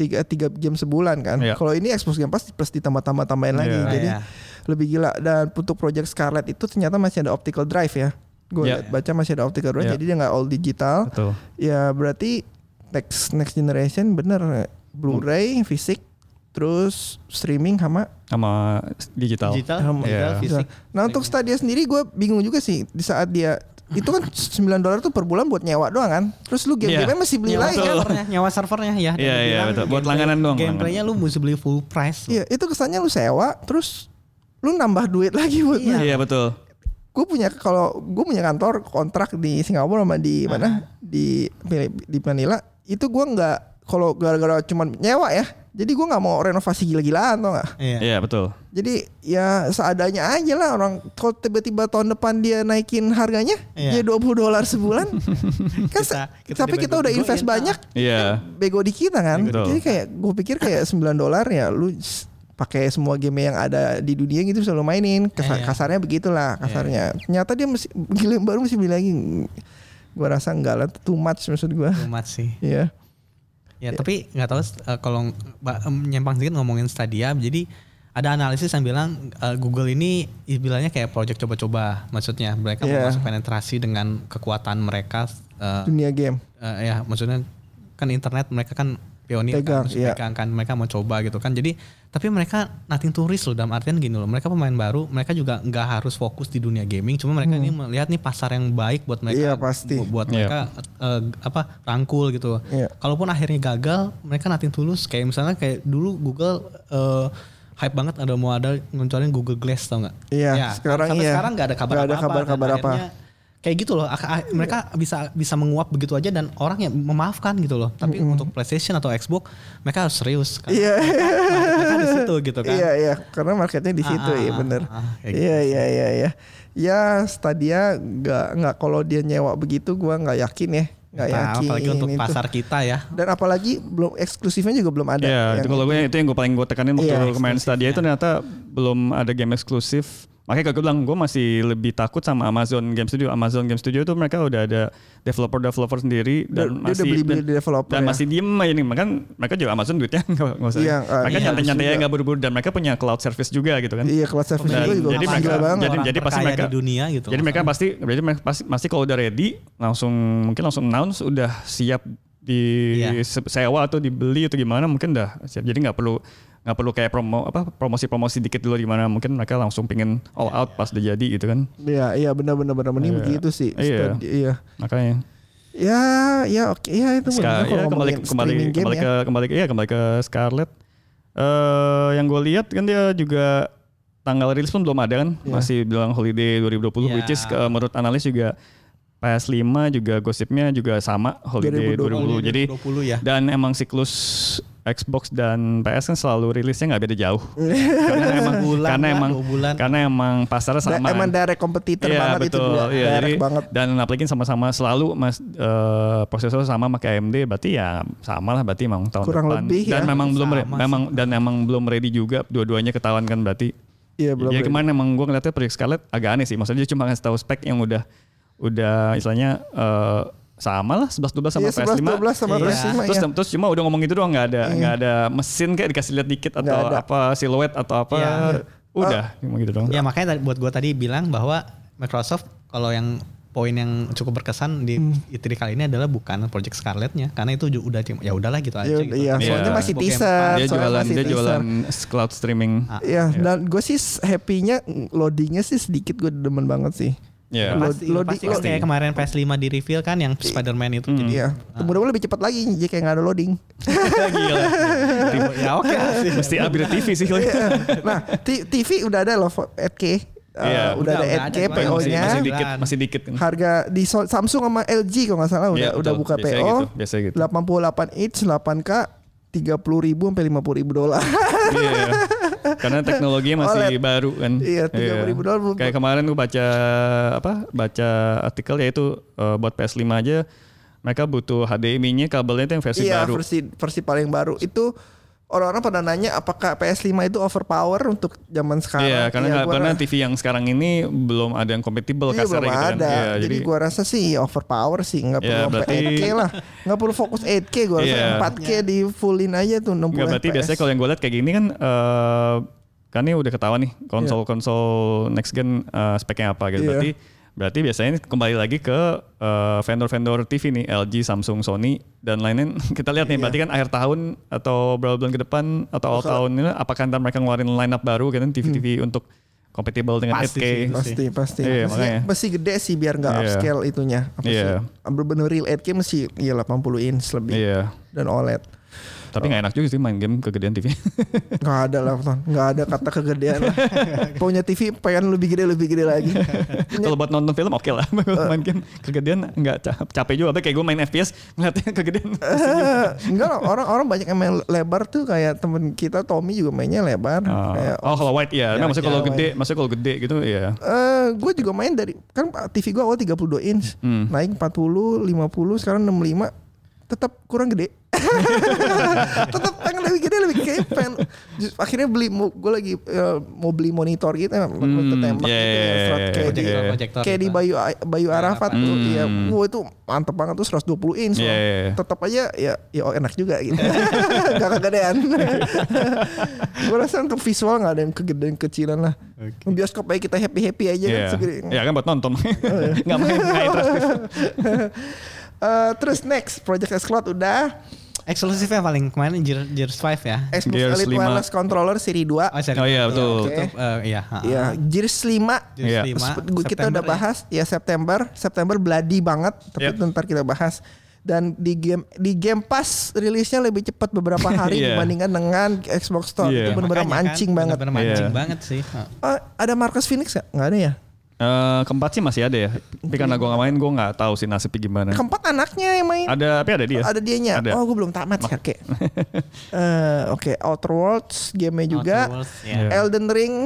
Speaker 2: tiga tiga game sebulan kan.
Speaker 3: Iya.
Speaker 2: Kalau ini Xbox Game Pass plus ditambah tambah tambahin lagi
Speaker 3: Iya.
Speaker 2: jadi
Speaker 4: Iya.
Speaker 2: lebih gila. Dan untuk Project Scarlet itu ternyata masih ada optical drive ya. Gue
Speaker 3: Iya.
Speaker 2: baca masih ada optical drive
Speaker 3: Iya.
Speaker 2: jadi dia nggak all digital.
Speaker 3: Betul.
Speaker 2: Ya berarti next next generation bener Blu-ray fisik terus streaming sama
Speaker 3: Sama digital.
Speaker 4: Digital,
Speaker 2: Sama-
Speaker 4: digital,
Speaker 3: Iya.
Speaker 4: fisik.
Speaker 2: Nah untuk Stadia sendiri gue bingung juga sih di saat dia itu kan 9 dolar tuh per bulan buat nyewa doang kan. Terus lu game
Speaker 3: Iya.
Speaker 2: game masih beli
Speaker 4: nyawa
Speaker 2: lain kan.
Speaker 4: servernya, nyawa servernya ya. Dia
Speaker 3: Iya, iya,
Speaker 4: bilang
Speaker 3: betul. Buat
Speaker 4: gameplay-
Speaker 3: langganan doang,
Speaker 4: Gameplaynya lu mesti beli full price.
Speaker 2: Iya, itu kesannya lu sewa terus lu nambah duit lagi buat
Speaker 3: Iya, betul.
Speaker 2: gue punya kalau gue punya kantor kontrak di Singapura sama di mana di Pil- di Manila itu gue nggak kalau gara-gara cuman nyewa ya jadi gue nggak mau renovasi gila-gilaan tau nggak
Speaker 4: Iya.
Speaker 3: Iya, betul.
Speaker 2: jadi ya seadanya aja lah orang kalau tiba-tiba tahun depan dia naikin harganya
Speaker 4: Iya.
Speaker 2: dia 20 dolar sebulan kan se-
Speaker 4: Kita- kita
Speaker 2: tapi kita
Speaker 4: dibantu
Speaker 2: udah
Speaker 4: dulu,
Speaker 2: invest
Speaker 4: iya.
Speaker 2: banyak
Speaker 3: Iya.
Speaker 2: bego di kita kan
Speaker 3: Betul.
Speaker 2: jadi kayak gue pikir kayak 9 dolar ya lu s- pakai semua game yang ada di dunia gitu bisa lu mainin Kasa-
Speaker 4: Iya.
Speaker 2: kasarnya begitulah kasarnya ternyata dia mesti gila yang baru mesti beli lagi gue rasa enggak lah too much maksud gue
Speaker 4: Lumat sih.
Speaker 2: Iya
Speaker 4: Ya, tapi nggak tahu eh, kalau ba- em, nyampang sedikit ngomongin Stadia. Jadi ada analisis yang bilang eh, Google ini bilangnya kayak project coba-coba. Maksudnya mereka
Speaker 2: Iya.
Speaker 4: mau masuk penetrasi dengan kekuatan mereka eh,
Speaker 2: dunia game
Speaker 4: eh, ya maksudnya kan internet mereka kan pionir
Speaker 2: Pegang,
Speaker 4: kan, harus
Speaker 2: iya.
Speaker 4: pegang kan mereka mau coba gitu kan jadi tapi mereka nothing turis loh dalam artian gini loh mereka pemain baru mereka juga nggak harus fokus di dunia gaming cuma mereka ini melihat nih pasar yang baik buat mereka
Speaker 2: Hmm. Iya, pasti.
Speaker 4: bu- buat
Speaker 3: Iya.
Speaker 4: mereka eh, apa rangkul gitu
Speaker 2: Iya.
Speaker 4: kalaupun akhirnya gagal mereka nothing tulus kayak misalnya kayak dulu Google eh, hype banget ada mau ada ngunculin Google Glass tau nggak
Speaker 2: Iya,
Speaker 4: Ya,
Speaker 2: sekarang
Speaker 4: sampai
Speaker 2: iya.
Speaker 4: sekarang nggak ada kabar
Speaker 2: Nggak ada
Speaker 4: apa-apa,
Speaker 2: kabar-kabar
Speaker 4: dan
Speaker 2: apa.
Speaker 4: akhirnya kayak gitu loh ak- ak- mereka
Speaker 2: Iya.
Speaker 4: bisa bisa menguap begitu aja dan orang yang memaafkan gitu loh tapi untuk PlayStation atau Xbox mereka harus serius kan
Speaker 2: Iya.
Speaker 4: mereka di situ gitu kan
Speaker 2: Iya iya, karena marketnya di
Speaker 4: Ah,
Speaker 2: situ
Speaker 4: ah,
Speaker 2: ya
Speaker 4: ah,
Speaker 2: bener.
Speaker 4: ah, kayak
Speaker 2: Iya iya iya iya. Ya Stadia nggak nggak kalau dia nyewa begitu, gua nggak yakin ya, nggak
Speaker 4: Nah,
Speaker 2: yakin.
Speaker 4: apalagi untuk
Speaker 2: ini tuh.
Speaker 4: pasar kita ya
Speaker 2: Dan apalagi belum eksklusifnya juga belum ada. ya
Speaker 3: Iya,
Speaker 2: Yang
Speaker 3: itu kalau gue itu yang gue paling gue tekanin waktu
Speaker 2: Iya,
Speaker 3: kemarin Stadia itu ternyata belum ada game eksklusif. Makanya kayak gue bilang gue masih lebih takut sama Amazon Game Studio. Amazon Game Studio itu mereka udah ada developer-developer sendiri
Speaker 2: Dia- dia udah
Speaker 3: dan masih
Speaker 2: beli-beli
Speaker 3: dan,
Speaker 2: developer
Speaker 3: dan
Speaker 2: ya.
Speaker 3: masih diem aja nih. Makan mereka juga Amazon duitnya nggak nggak usah.
Speaker 2: Iya,
Speaker 3: mereka
Speaker 2: iya,
Speaker 3: nyantai-nyantai aja
Speaker 2: juga.
Speaker 3: nggak buru-buru dan mereka punya cloud service juga gitu kan.
Speaker 2: Iya, cloud service
Speaker 3: Dan
Speaker 2: juga juga
Speaker 3: jadi
Speaker 2: gila
Speaker 3: mereka,
Speaker 2: banget.
Speaker 3: jadi,
Speaker 4: Orang
Speaker 3: jadi pasti
Speaker 4: terkaya
Speaker 3: mereka
Speaker 4: di dunia gitu
Speaker 3: Jadi mereka pasti, jadi mereka pasti, pasti kalau udah ready langsung mungkin langsung announce udah siap di
Speaker 4: Iya.
Speaker 3: se- sewa atau dibeli atau gimana mungkin dah siap. Jadi nggak perlu nggak perlu kayak promo apa promosi-promosi dikit dulu di mana mungkin mereka langsung pingin all
Speaker 4: Iya.
Speaker 3: out pas udah jadi gitu kan.
Speaker 2: Iya iya benar benar benar benar
Speaker 3: Iya.
Speaker 2: begitu sih.
Speaker 3: Iya.
Speaker 2: Stadia, iya.
Speaker 3: Makanya
Speaker 2: Ya ya oke ya itu
Speaker 3: Ska-
Speaker 2: benar
Speaker 3: ya,
Speaker 2: kalau
Speaker 3: kembali
Speaker 2: ngomongin
Speaker 3: kembali
Speaker 2: streaming game
Speaker 3: kembali
Speaker 2: ya.
Speaker 3: ke kembali ke iya, kembali ke Scarlet. Eh yang gue lihat kan dia juga
Speaker 2: Iya.
Speaker 3: tanggal rilis pun belum ada kan, masih bilang holiday 2020
Speaker 4: Iya.
Speaker 3: which is eh, menurut analis juga PS5 juga gosipnya juga sama holiday 2020.
Speaker 2: 2020.
Speaker 3: Jadi
Speaker 4: 2020 ya.
Speaker 3: dan emang siklus Xbox dan PS kan selalu rilisnya nggak beda jauh. karena emang
Speaker 4: Bulan
Speaker 3: karena
Speaker 4: lah,
Speaker 3: emang
Speaker 4: dua bulan.
Speaker 3: karena emang pasar
Speaker 2: Da-
Speaker 3: sama.
Speaker 2: ya. emang direct competitor
Speaker 3: Iya,
Speaker 2: banget itu dua.
Speaker 3: Iya,
Speaker 2: direct
Speaker 3: jadi-
Speaker 2: banget.
Speaker 3: Dan apalagi sama-sama selalu mas eh, prosesor sama pakai AMD berarti ya sama lah berarti emang tahun
Speaker 2: Kurang
Speaker 3: depan.
Speaker 2: lebih
Speaker 3: dan
Speaker 2: ya.
Speaker 3: memang belum re-
Speaker 4: Sama
Speaker 3: memang dan emang belum ready juga dua-duanya ketahuan kan berarti.
Speaker 2: Iya, belum.
Speaker 3: ya
Speaker 2: ready.
Speaker 3: kemarin emang gue ngeliatnya Project Scarlet agak aneh sih. Maksudnya dia cuma ngasih tahu spek yang udah udah istilahnya eh, sama lah 11 12 sama
Speaker 2: Iya, 11
Speaker 3: PS5.
Speaker 2: 12 sama PS5
Speaker 4: Iya.
Speaker 3: Terus,
Speaker 2: ya. Iya.
Speaker 3: terus cuma udah ngomong gitu doang nggak ada nggak ada mesin kayak dikasih lihat dikit
Speaker 2: Nggak
Speaker 3: atau
Speaker 2: ada. Eh,
Speaker 3: apa siluet atau apa
Speaker 4: Iya.
Speaker 3: udah cuma gitu doang.
Speaker 4: Ya makanya tadi, buat gue tadi bilang bahwa Microsoft kalau yang poin yang cukup berkesan di
Speaker 2: Hmm.
Speaker 4: E3 kali ini adalah bukan Project Scarlet-nya karena itu ju- udah cuma- ya udahlah gitu aja
Speaker 2: Ya,
Speaker 4: gitu.
Speaker 2: iya,
Speaker 3: soalnya
Speaker 2: masih
Speaker 4: Bokeh
Speaker 2: teaser.
Speaker 4: empat.
Speaker 3: dia
Speaker 2: soalnya
Speaker 3: jualan
Speaker 2: masih
Speaker 3: dia
Speaker 2: teaser.
Speaker 3: jualan cloud streaming.
Speaker 4: Ah.
Speaker 2: Iya, dan gue sih happy-nya loadingnya sih sedikit gue demen banget sih.
Speaker 3: Ya.
Speaker 2: Lo-
Speaker 4: Pasti,
Speaker 2: lo di-
Speaker 4: pasti
Speaker 2: lo-
Speaker 4: kan kayak kemarin PS5 di reveal kan yang Spider-Man
Speaker 3: Hmm.
Speaker 4: itu jadi
Speaker 2: Iya, mudah-mudahan lebih cepat lagi jadi kayak nggak ada loading.
Speaker 3: Gila. Tim-
Speaker 4: ya oke lah sih.
Speaker 3: Mesti upgrade TV sih.
Speaker 2: nah, T- TV udah ada loh 8K. Eh,
Speaker 3: Iya,
Speaker 2: udah, ada
Speaker 4: udah,
Speaker 2: 8K
Speaker 4: udah ada,
Speaker 3: masih, masih
Speaker 2: PO-nya.
Speaker 4: di-
Speaker 3: dikit, masih dikit.
Speaker 2: Harga di So- Samsung sama LG kalau nggak salah udah
Speaker 3: Iya,
Speaker 2: udah
Speaker 3: betul.
Speaker 2: buka
Speaker 3: Biasanya
Speaker 2: PO.
Speaker 3: gitu, biasanya gitu.
Speaker 2: 88 inch 8K 30 ribu sampai 50 ribu dolar.
Speaker 3: Iya. Karena teknologinya masih
Speaker 2: OLED.
Speaker 3: baru kan.
Speaker 2: Iya, 30.000 dolar belum-
Speaker 3: Kayak kemarin gue baca apa? Baca artikel yaitu eh, buat PS5 aja mereka butuh HDMI-nya kabelnya itu yang versi
Speaker 2: iya,
Speaker 3: baru.
Speaker 2: versi versi paling baru itu orang-orang pada nanya apakah PS5 itu overpower untuk zaman sekarang.
Speaker 3: Iya, karena
Speaker 2: Iya,
Speaker 3: nggak-
Speaker 2: gua
Speaker 3: karena
Speaker 2: ra-
Speaker 3: TV yang sekarang ini belum ada yang kompatibel
Speaker 2: Iya,
Speaker 3: kasarnya
Speaker 2: belum
Speaker 3: gitu kan.
Speaker 2: ada.
Speaker 3: Iya,
Speaker 2: jadi, gua rasa sih overpower sih nggak
Speaker 3: Iya,
Speaker 2: perlu sampai
Speaker 3: berarti-
Speaker 2: 8K lah. Nggak perlu fokus 8K gua rasa
Speaker 3: Iya.
Speaker 2: 4K di fullin aja tuh 60
Speaker 3: Enggak berarti
Speaker 2: FPS.
Speaker 3: biasanya kalau yang gue lihat kayak gini kan eh kan ini udah ketahuan nih konsol-konsol next gen eh, speknya apa gitu.
Speaker 2: Iya.
Speaker 3: Berarti berarti biasanya ini kembali lagi ke eh, vendor-vendor TV nih LG, Samsung, Sony dan lain-lain. Kita lihat nih berarti kan akhir tahun atau berapa bulan ke depan atau awal tahun ini apakah ntar mereka ngeluarin lineup baru gitu kan TV-TV untuk compatible dengan 8K.
Speaker 4: Pasti sih,
Speaker 2: pasti pasti
Speaker 3: Iya,
Speaker 2: Mesti-
Speaker 3: makanya.
Speaker 2: mesti gede sih biar nggak
Speaker 3: Iya.
Speaker 2: upscale itunya apa
Speaker 3: Iya.
Speaker 2: sih bener real 8K mesti ya 80 inch lebih
Speaker 3: Iya.
Speaker 2: dan OLED
Speaker 3: Tapi nggak enak juga sih main game kegedean TV.
Speaker 2: nggak ada lah Ton. nggak ada kata kegedean lah punya TV pengen lebih gede lebih gede lagi
Speaker 3: Kalau buat nonton film oke lah. main game kegedean nggak ca- capek juga. Tapi kayak gue main FPS ngeliatnya kegedean.
Speaker 2: Eh, enggak lah, orang-orang banyak yang main lebar tuh kayak temen kita Tommy juga mainnya lebar
Speaker 3: Oh,
Speaker 2: kayak
Speaker 3: oh, kalau wide ya. Nah, maksudnya kalau
Speaker 2: jarak
Speaker 3: gede, maksudnya kalau gede gitu
Speaker 2: Iya kan,
Speaker 3: ya.
Speaker 2: gue Eh, juga main dari kan TV gue awal 32 inch
Speaker 3: Hmm.
Speaker 2: naik 40 50 sekarang 65 tetap kurang gede tetap pengen lebih gede lebih kayak pengen just- akhirnya beli gue lagi eh, mau beli monitor gitu emang
Speaker 3: Hmm,
Speaker 2: ketembak
Speaker 3: iya,
Speaker 2: gitu ya,
Speaker 3: iya,
Speaker 2: flat
Speaker 3: iya,
Speaker 2: kayak
Speaker 3: iya,
Speaker 2: di
Speaker 3: iya.
Speaker 4: Projector
Speaker 2: kayak di
Speaker 4: gitu. nah,
Speaker 2: Bayu Bayu Arafat tuh
Speaker 3: Hmm.
Speaker 2: ya wah itu mantep banget tuh 120 inch
Speaker 3: Iya,
Speaker 2: loh.
Speaker 3: iya, iya.
Speaker 2: tetap aja ya ya oh, enak juga gitu gak kegedean gue rasa untuk visual nggak ada yang kegedean kecilan lah bioskop aja kita happy happy aja kan
Speaker 3: Iya.
Speaker 2: segede.
Speaker 3: Ya kan buat nonton.
Speaker 2: Oh, iya.
Speaker 3: Enggak main nggak interaktif.
Speaker 2: Eh, terus next Project X Cloud udah
Speaker 4: Eksklusifnya paling kemarin Gear- Gears 5 ya.
Speaker 2: Xbox
Speaker 3: Gears
Speaker 2: Elite
Speaker 3: 5.
Speaker 2: Wireless Controller seri 2
Speaker 4: Oh, sorry.
Speaker 3: Oh iya, betul.
Speaker 4: Itu, eh, iya. ha, ha.
Speaker 2: ya Gears 5
Speaker 4: Gears
Speaker 3: Iya.
Speaker 4: 5,
Speaker 2: Gua- kita
Speaker 4: September
Speaker 2: udah
Speaker 4: ya.
Speaker 2: bahas ya. September September bloody banget tapi
Speaker 3: Yep.
Speaker 2: itu ntar kita bahas dan di game di game pass rilisnya lebih cepat beberapa hari
Speaker 3: Iya.
Speaker 2: dibandingkan dengan Xbox Store
Speaker 3: Iya.
Speaker 2: itu benar-benar
Speaker 4: Makanya kan,
Speaker 2: mancing banget
Speaker 4: Bener-bener mancing
Speaker 3: Iya.
Speaker 4: banget sih. ha.
Speaker 2: Eh, ada Marcus Phoenix nggak nggak ada ya
Speaker 3: Eh, keempat sih masih ada ya. Tapi karena gue nggak main, gue nggak tahu sih nasibnya gimana.
Speaker 2: keempat anaknya yang main
Speaker 3: Ada, tapi ada dia.
Speaker 2: ada dianya
Speaker 3: Iya. Ada.
Speaker 2: oh gue belum tamat kakek Eh, oke Outer Worlds gamenya juga
Speaker 4: Outer Worlds, ya.
Speaker 3: Iya.
Speaker 2: Elden Ring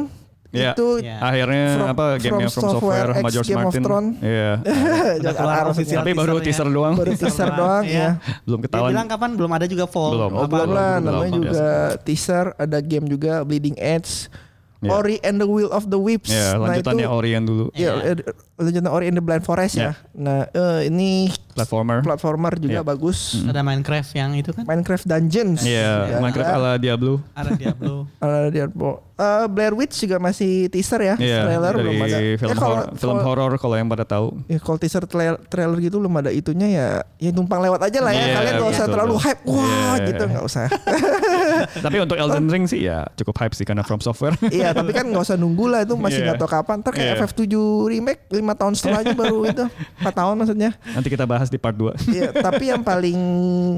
Speaker 3: Iya.
Speaker 2: itu
Speaker 4: Iya.
Speaker 3: Akhirnya
Speaker 2: From-
Speaker 3: apa gamenya
Speaker 2: From
Speaker 3: From Software,
Speaker 2: Software,
Speaker 3: sama
Speaker 2: X
Speaker 3: George
Speaker 2: Game of
Speaker 3: Martin.
Speaker 2: Thrones.
Speaker 3: Iya.
Speaker 4: Udah keluar
Speaker 2: Jangan-
Speaker 4: official Iya.
Speaker 3: Tapi baru teaser
Speaker 4: teasernya.
Speaker 3: doang.
Speaker 2: baru teaser doang ya.
Speaker 3: Belum
Speaker 4: Dia
Speaker 3: ketahuan.
Speaker 4: bilang kan- kapan belum ada juga fall.
Speaker 3: Belum.
Speaker 2: Oh,
Speaker 3: Apa?
Speaker 2: belum lah,
Speaker 3: Belum,
Speaker 2: namanya
Speaker 3: belum.
Speaker 2: juga teaser, ada game juga Bleeding Edge,
Speaker 3: Iya.
Speaker 2: Ori and the Will of the Wisps.
Speaker 3: Ya, lanjutannya
Speaker 2: nah, itu,
Speaker 3: Orient dulu.
Speaker 4: Iya.
Speaker 2: ya, eh, lanjutannya Ori and the Blind Forest
Speaker 3: Iya.
Speaker 2: ya. Nah, eh, ini
Speaker 3: Platformer.
Speaker 2: platformer juga
Speaker 3: Iya.
Speaker 2: bagus.
Speaker 4: Ada Minecraft yang itu kan.
Speaker 2: Minecraft Dungeons. Nah,
Speaker 3: Iya,
Speaker 2: juga
Speaker 3: Minecraft
Speaker 2: ada.
Speaker 3: ala Diablo.
Speaker 4: Ada Diablo.
Speaker 2: Ada di- Eh, Blair Witch juga masih teaser ya,
Speaker 3: Iya,
Speaker 2: trailer
Speaker 3: dari
Speaker 2: belum ada. Ya,
Speaker 3: film
Speaker 2: kalau-
Speaker 3: horor, film
Speaker 2: kalau-
Speaker 3: horor kalau yang pada tahu.
Speaker 2: Ya kalau teaser trailer, trailer gitu belum ada itunya ya ya numpang lewat aja lah ya.
Speaker 3: Iya,
Speaker 2: Kalian gak usah
Speaker 3: betul,
Speaker 2: terlalu
Speaker 3: betul.
Speaker 2: hype. Wah,
Speaker 3: Iya.
Speaker 2: gitu nggak usah.
Speaker 3: Tapi untuk Elden Ring sih ya cukup hype sih karena From Software.
Speaker 2: Iya, tapi kan nggak usah nunggu lah itu masih
Speaker 3: Iya.
Speaker 2: nggak tahu kapan. Ntar kayak
Speaker 3: Iya.
Speaker 2: FF7 remake 5 tahun setelahnya baru itu 4 tahun maksudnya.
Speaker 3: Nanti kita bahas di part 2.
Speaker 2: Iya, tapi yang paling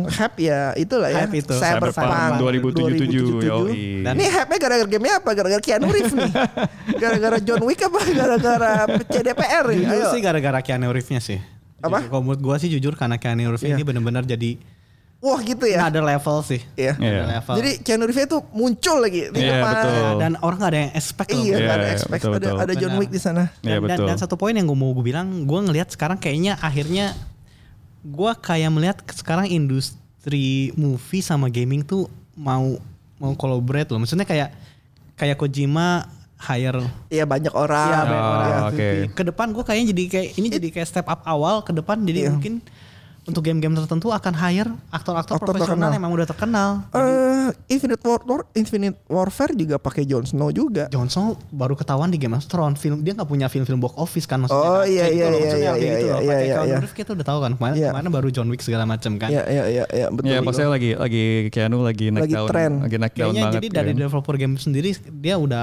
Speaker 2: hype ya itulah ya.
Speaker 4: Hype itu.
Speaker 2: Cyberpunk
Speaker 4: Cyberpunk
Speaker 3: 2077,
Speaker 2: 2077.
Speaker 3: yoi.
Speaker 4: Dan-
Speaker 2: Ini hype-nya gara-gara gamenya apa? Gara-gara Keanu Reeves nih. Gara-gara John Wick apa? Gara-gara CDPR nih.
Speaker 4: Jujur
Speaker 2: Ayo.
Speaker 4: sih gara-gara Keanu Reeves-nya sih.
Speaker 2: Apa? Iya.
Speaker 4: Jujur, kalau menurut gue sih jujur karena Keanu Reeves ini benar-benar jadi
Speaker 2: Wah gitu ya.
Speaker 4: another level sih.
Speaker 2: Iya.
Speaker 3: Iya.
Speaker 4: Another level.
Speaker 2: Jadi Keanu Reeves itu muncul lagi di
Speaker 3: Iya,
Speaker 2: depan.
Speaker 3: betul.
Speaker 4: dan orang gak ada yang expect loh.
Speaker 2: Iya,
Speaker 3: Iya,
Speaker 2: nggak ada
Speaker 3: iya,
Speaker 2: expect
Speaker 3: betul,
Speaker 2: ada,
Speaker 3: betul.
Speaker 2: ada John
Speaker 4: Benar.
Speaker 2: Wick di sana.
Speaker 4: Dan,
Speaker 3: Iya,
Speaker 4: dan-
Speaker 3: betul.
Speaker 4: dan satu poin yang gue mau gue bilang, gue ngelihat sekarang kayaknya akhirnya gue kayak melihat sekarang industri movie sama gaming tuh mau mau collaborate loh. Maksudnya kayak kayak Kojima hire
Speaker 2: Iya banyak orang.
Speaker 4: Iya,
Speaker 3: banyak orang.
Speaker 2: Iya.
Speaker 3: Oh, oke.
Speaker 4: ke depan gue kayaknya jadi kayak ini jadi kayak step up awal ke depan jadi
Speaker 2: Iya.
Speaker 4: mungkin untuk game-game tertentu akan hire aktor-aktor
Speaker 2: Aktor terkenal.
Speaker 4: profesional yang memang udah terkenal.
Speaker 2: Eh, Infinite War, War- Infinite Warfare juga pakai Jon Snow juga.
Speaker 4: Jon Snow baru ketahuan di Game of Thrones film dia nggak punya film-film box office kan maksudnya.
Speaker 2: Oh, iya,
Speaker 4: kan? Kayak
Speaker 2: iya,
Speaker 4: gitu
Speaker 2: iya,
Speaker 4: loh, maksudnya
Speaker 2: iya, iya,
Speaker 4: kayak gitu loh.
Speaker 2: iya,
Speaker 4: Pakai
Speaker 2: iya,
Speaker 4: Keanu
Speaker 2: iya.
Speaker 4: Reeves kita udah tahu kan kemarin
Speaker 2: Iya.
Speaker 4: kemarin baru John Wick segala macam kan.
Speaker 2: Iya iya iya iya betul.
Speaker 3: Iya, maksudnya lagi lagi Keanu lagi naik
Speaker 2: Lagi
Speaker 3: down,
Speaker 2: tren.
Speaker 3: lagi naik down
Speaker 4: Kayaknya
Speaker 3: banget.
Speaker 4: jadi dari
Speaker 3: kan.
Speaker 4: developer game sendiri dia udah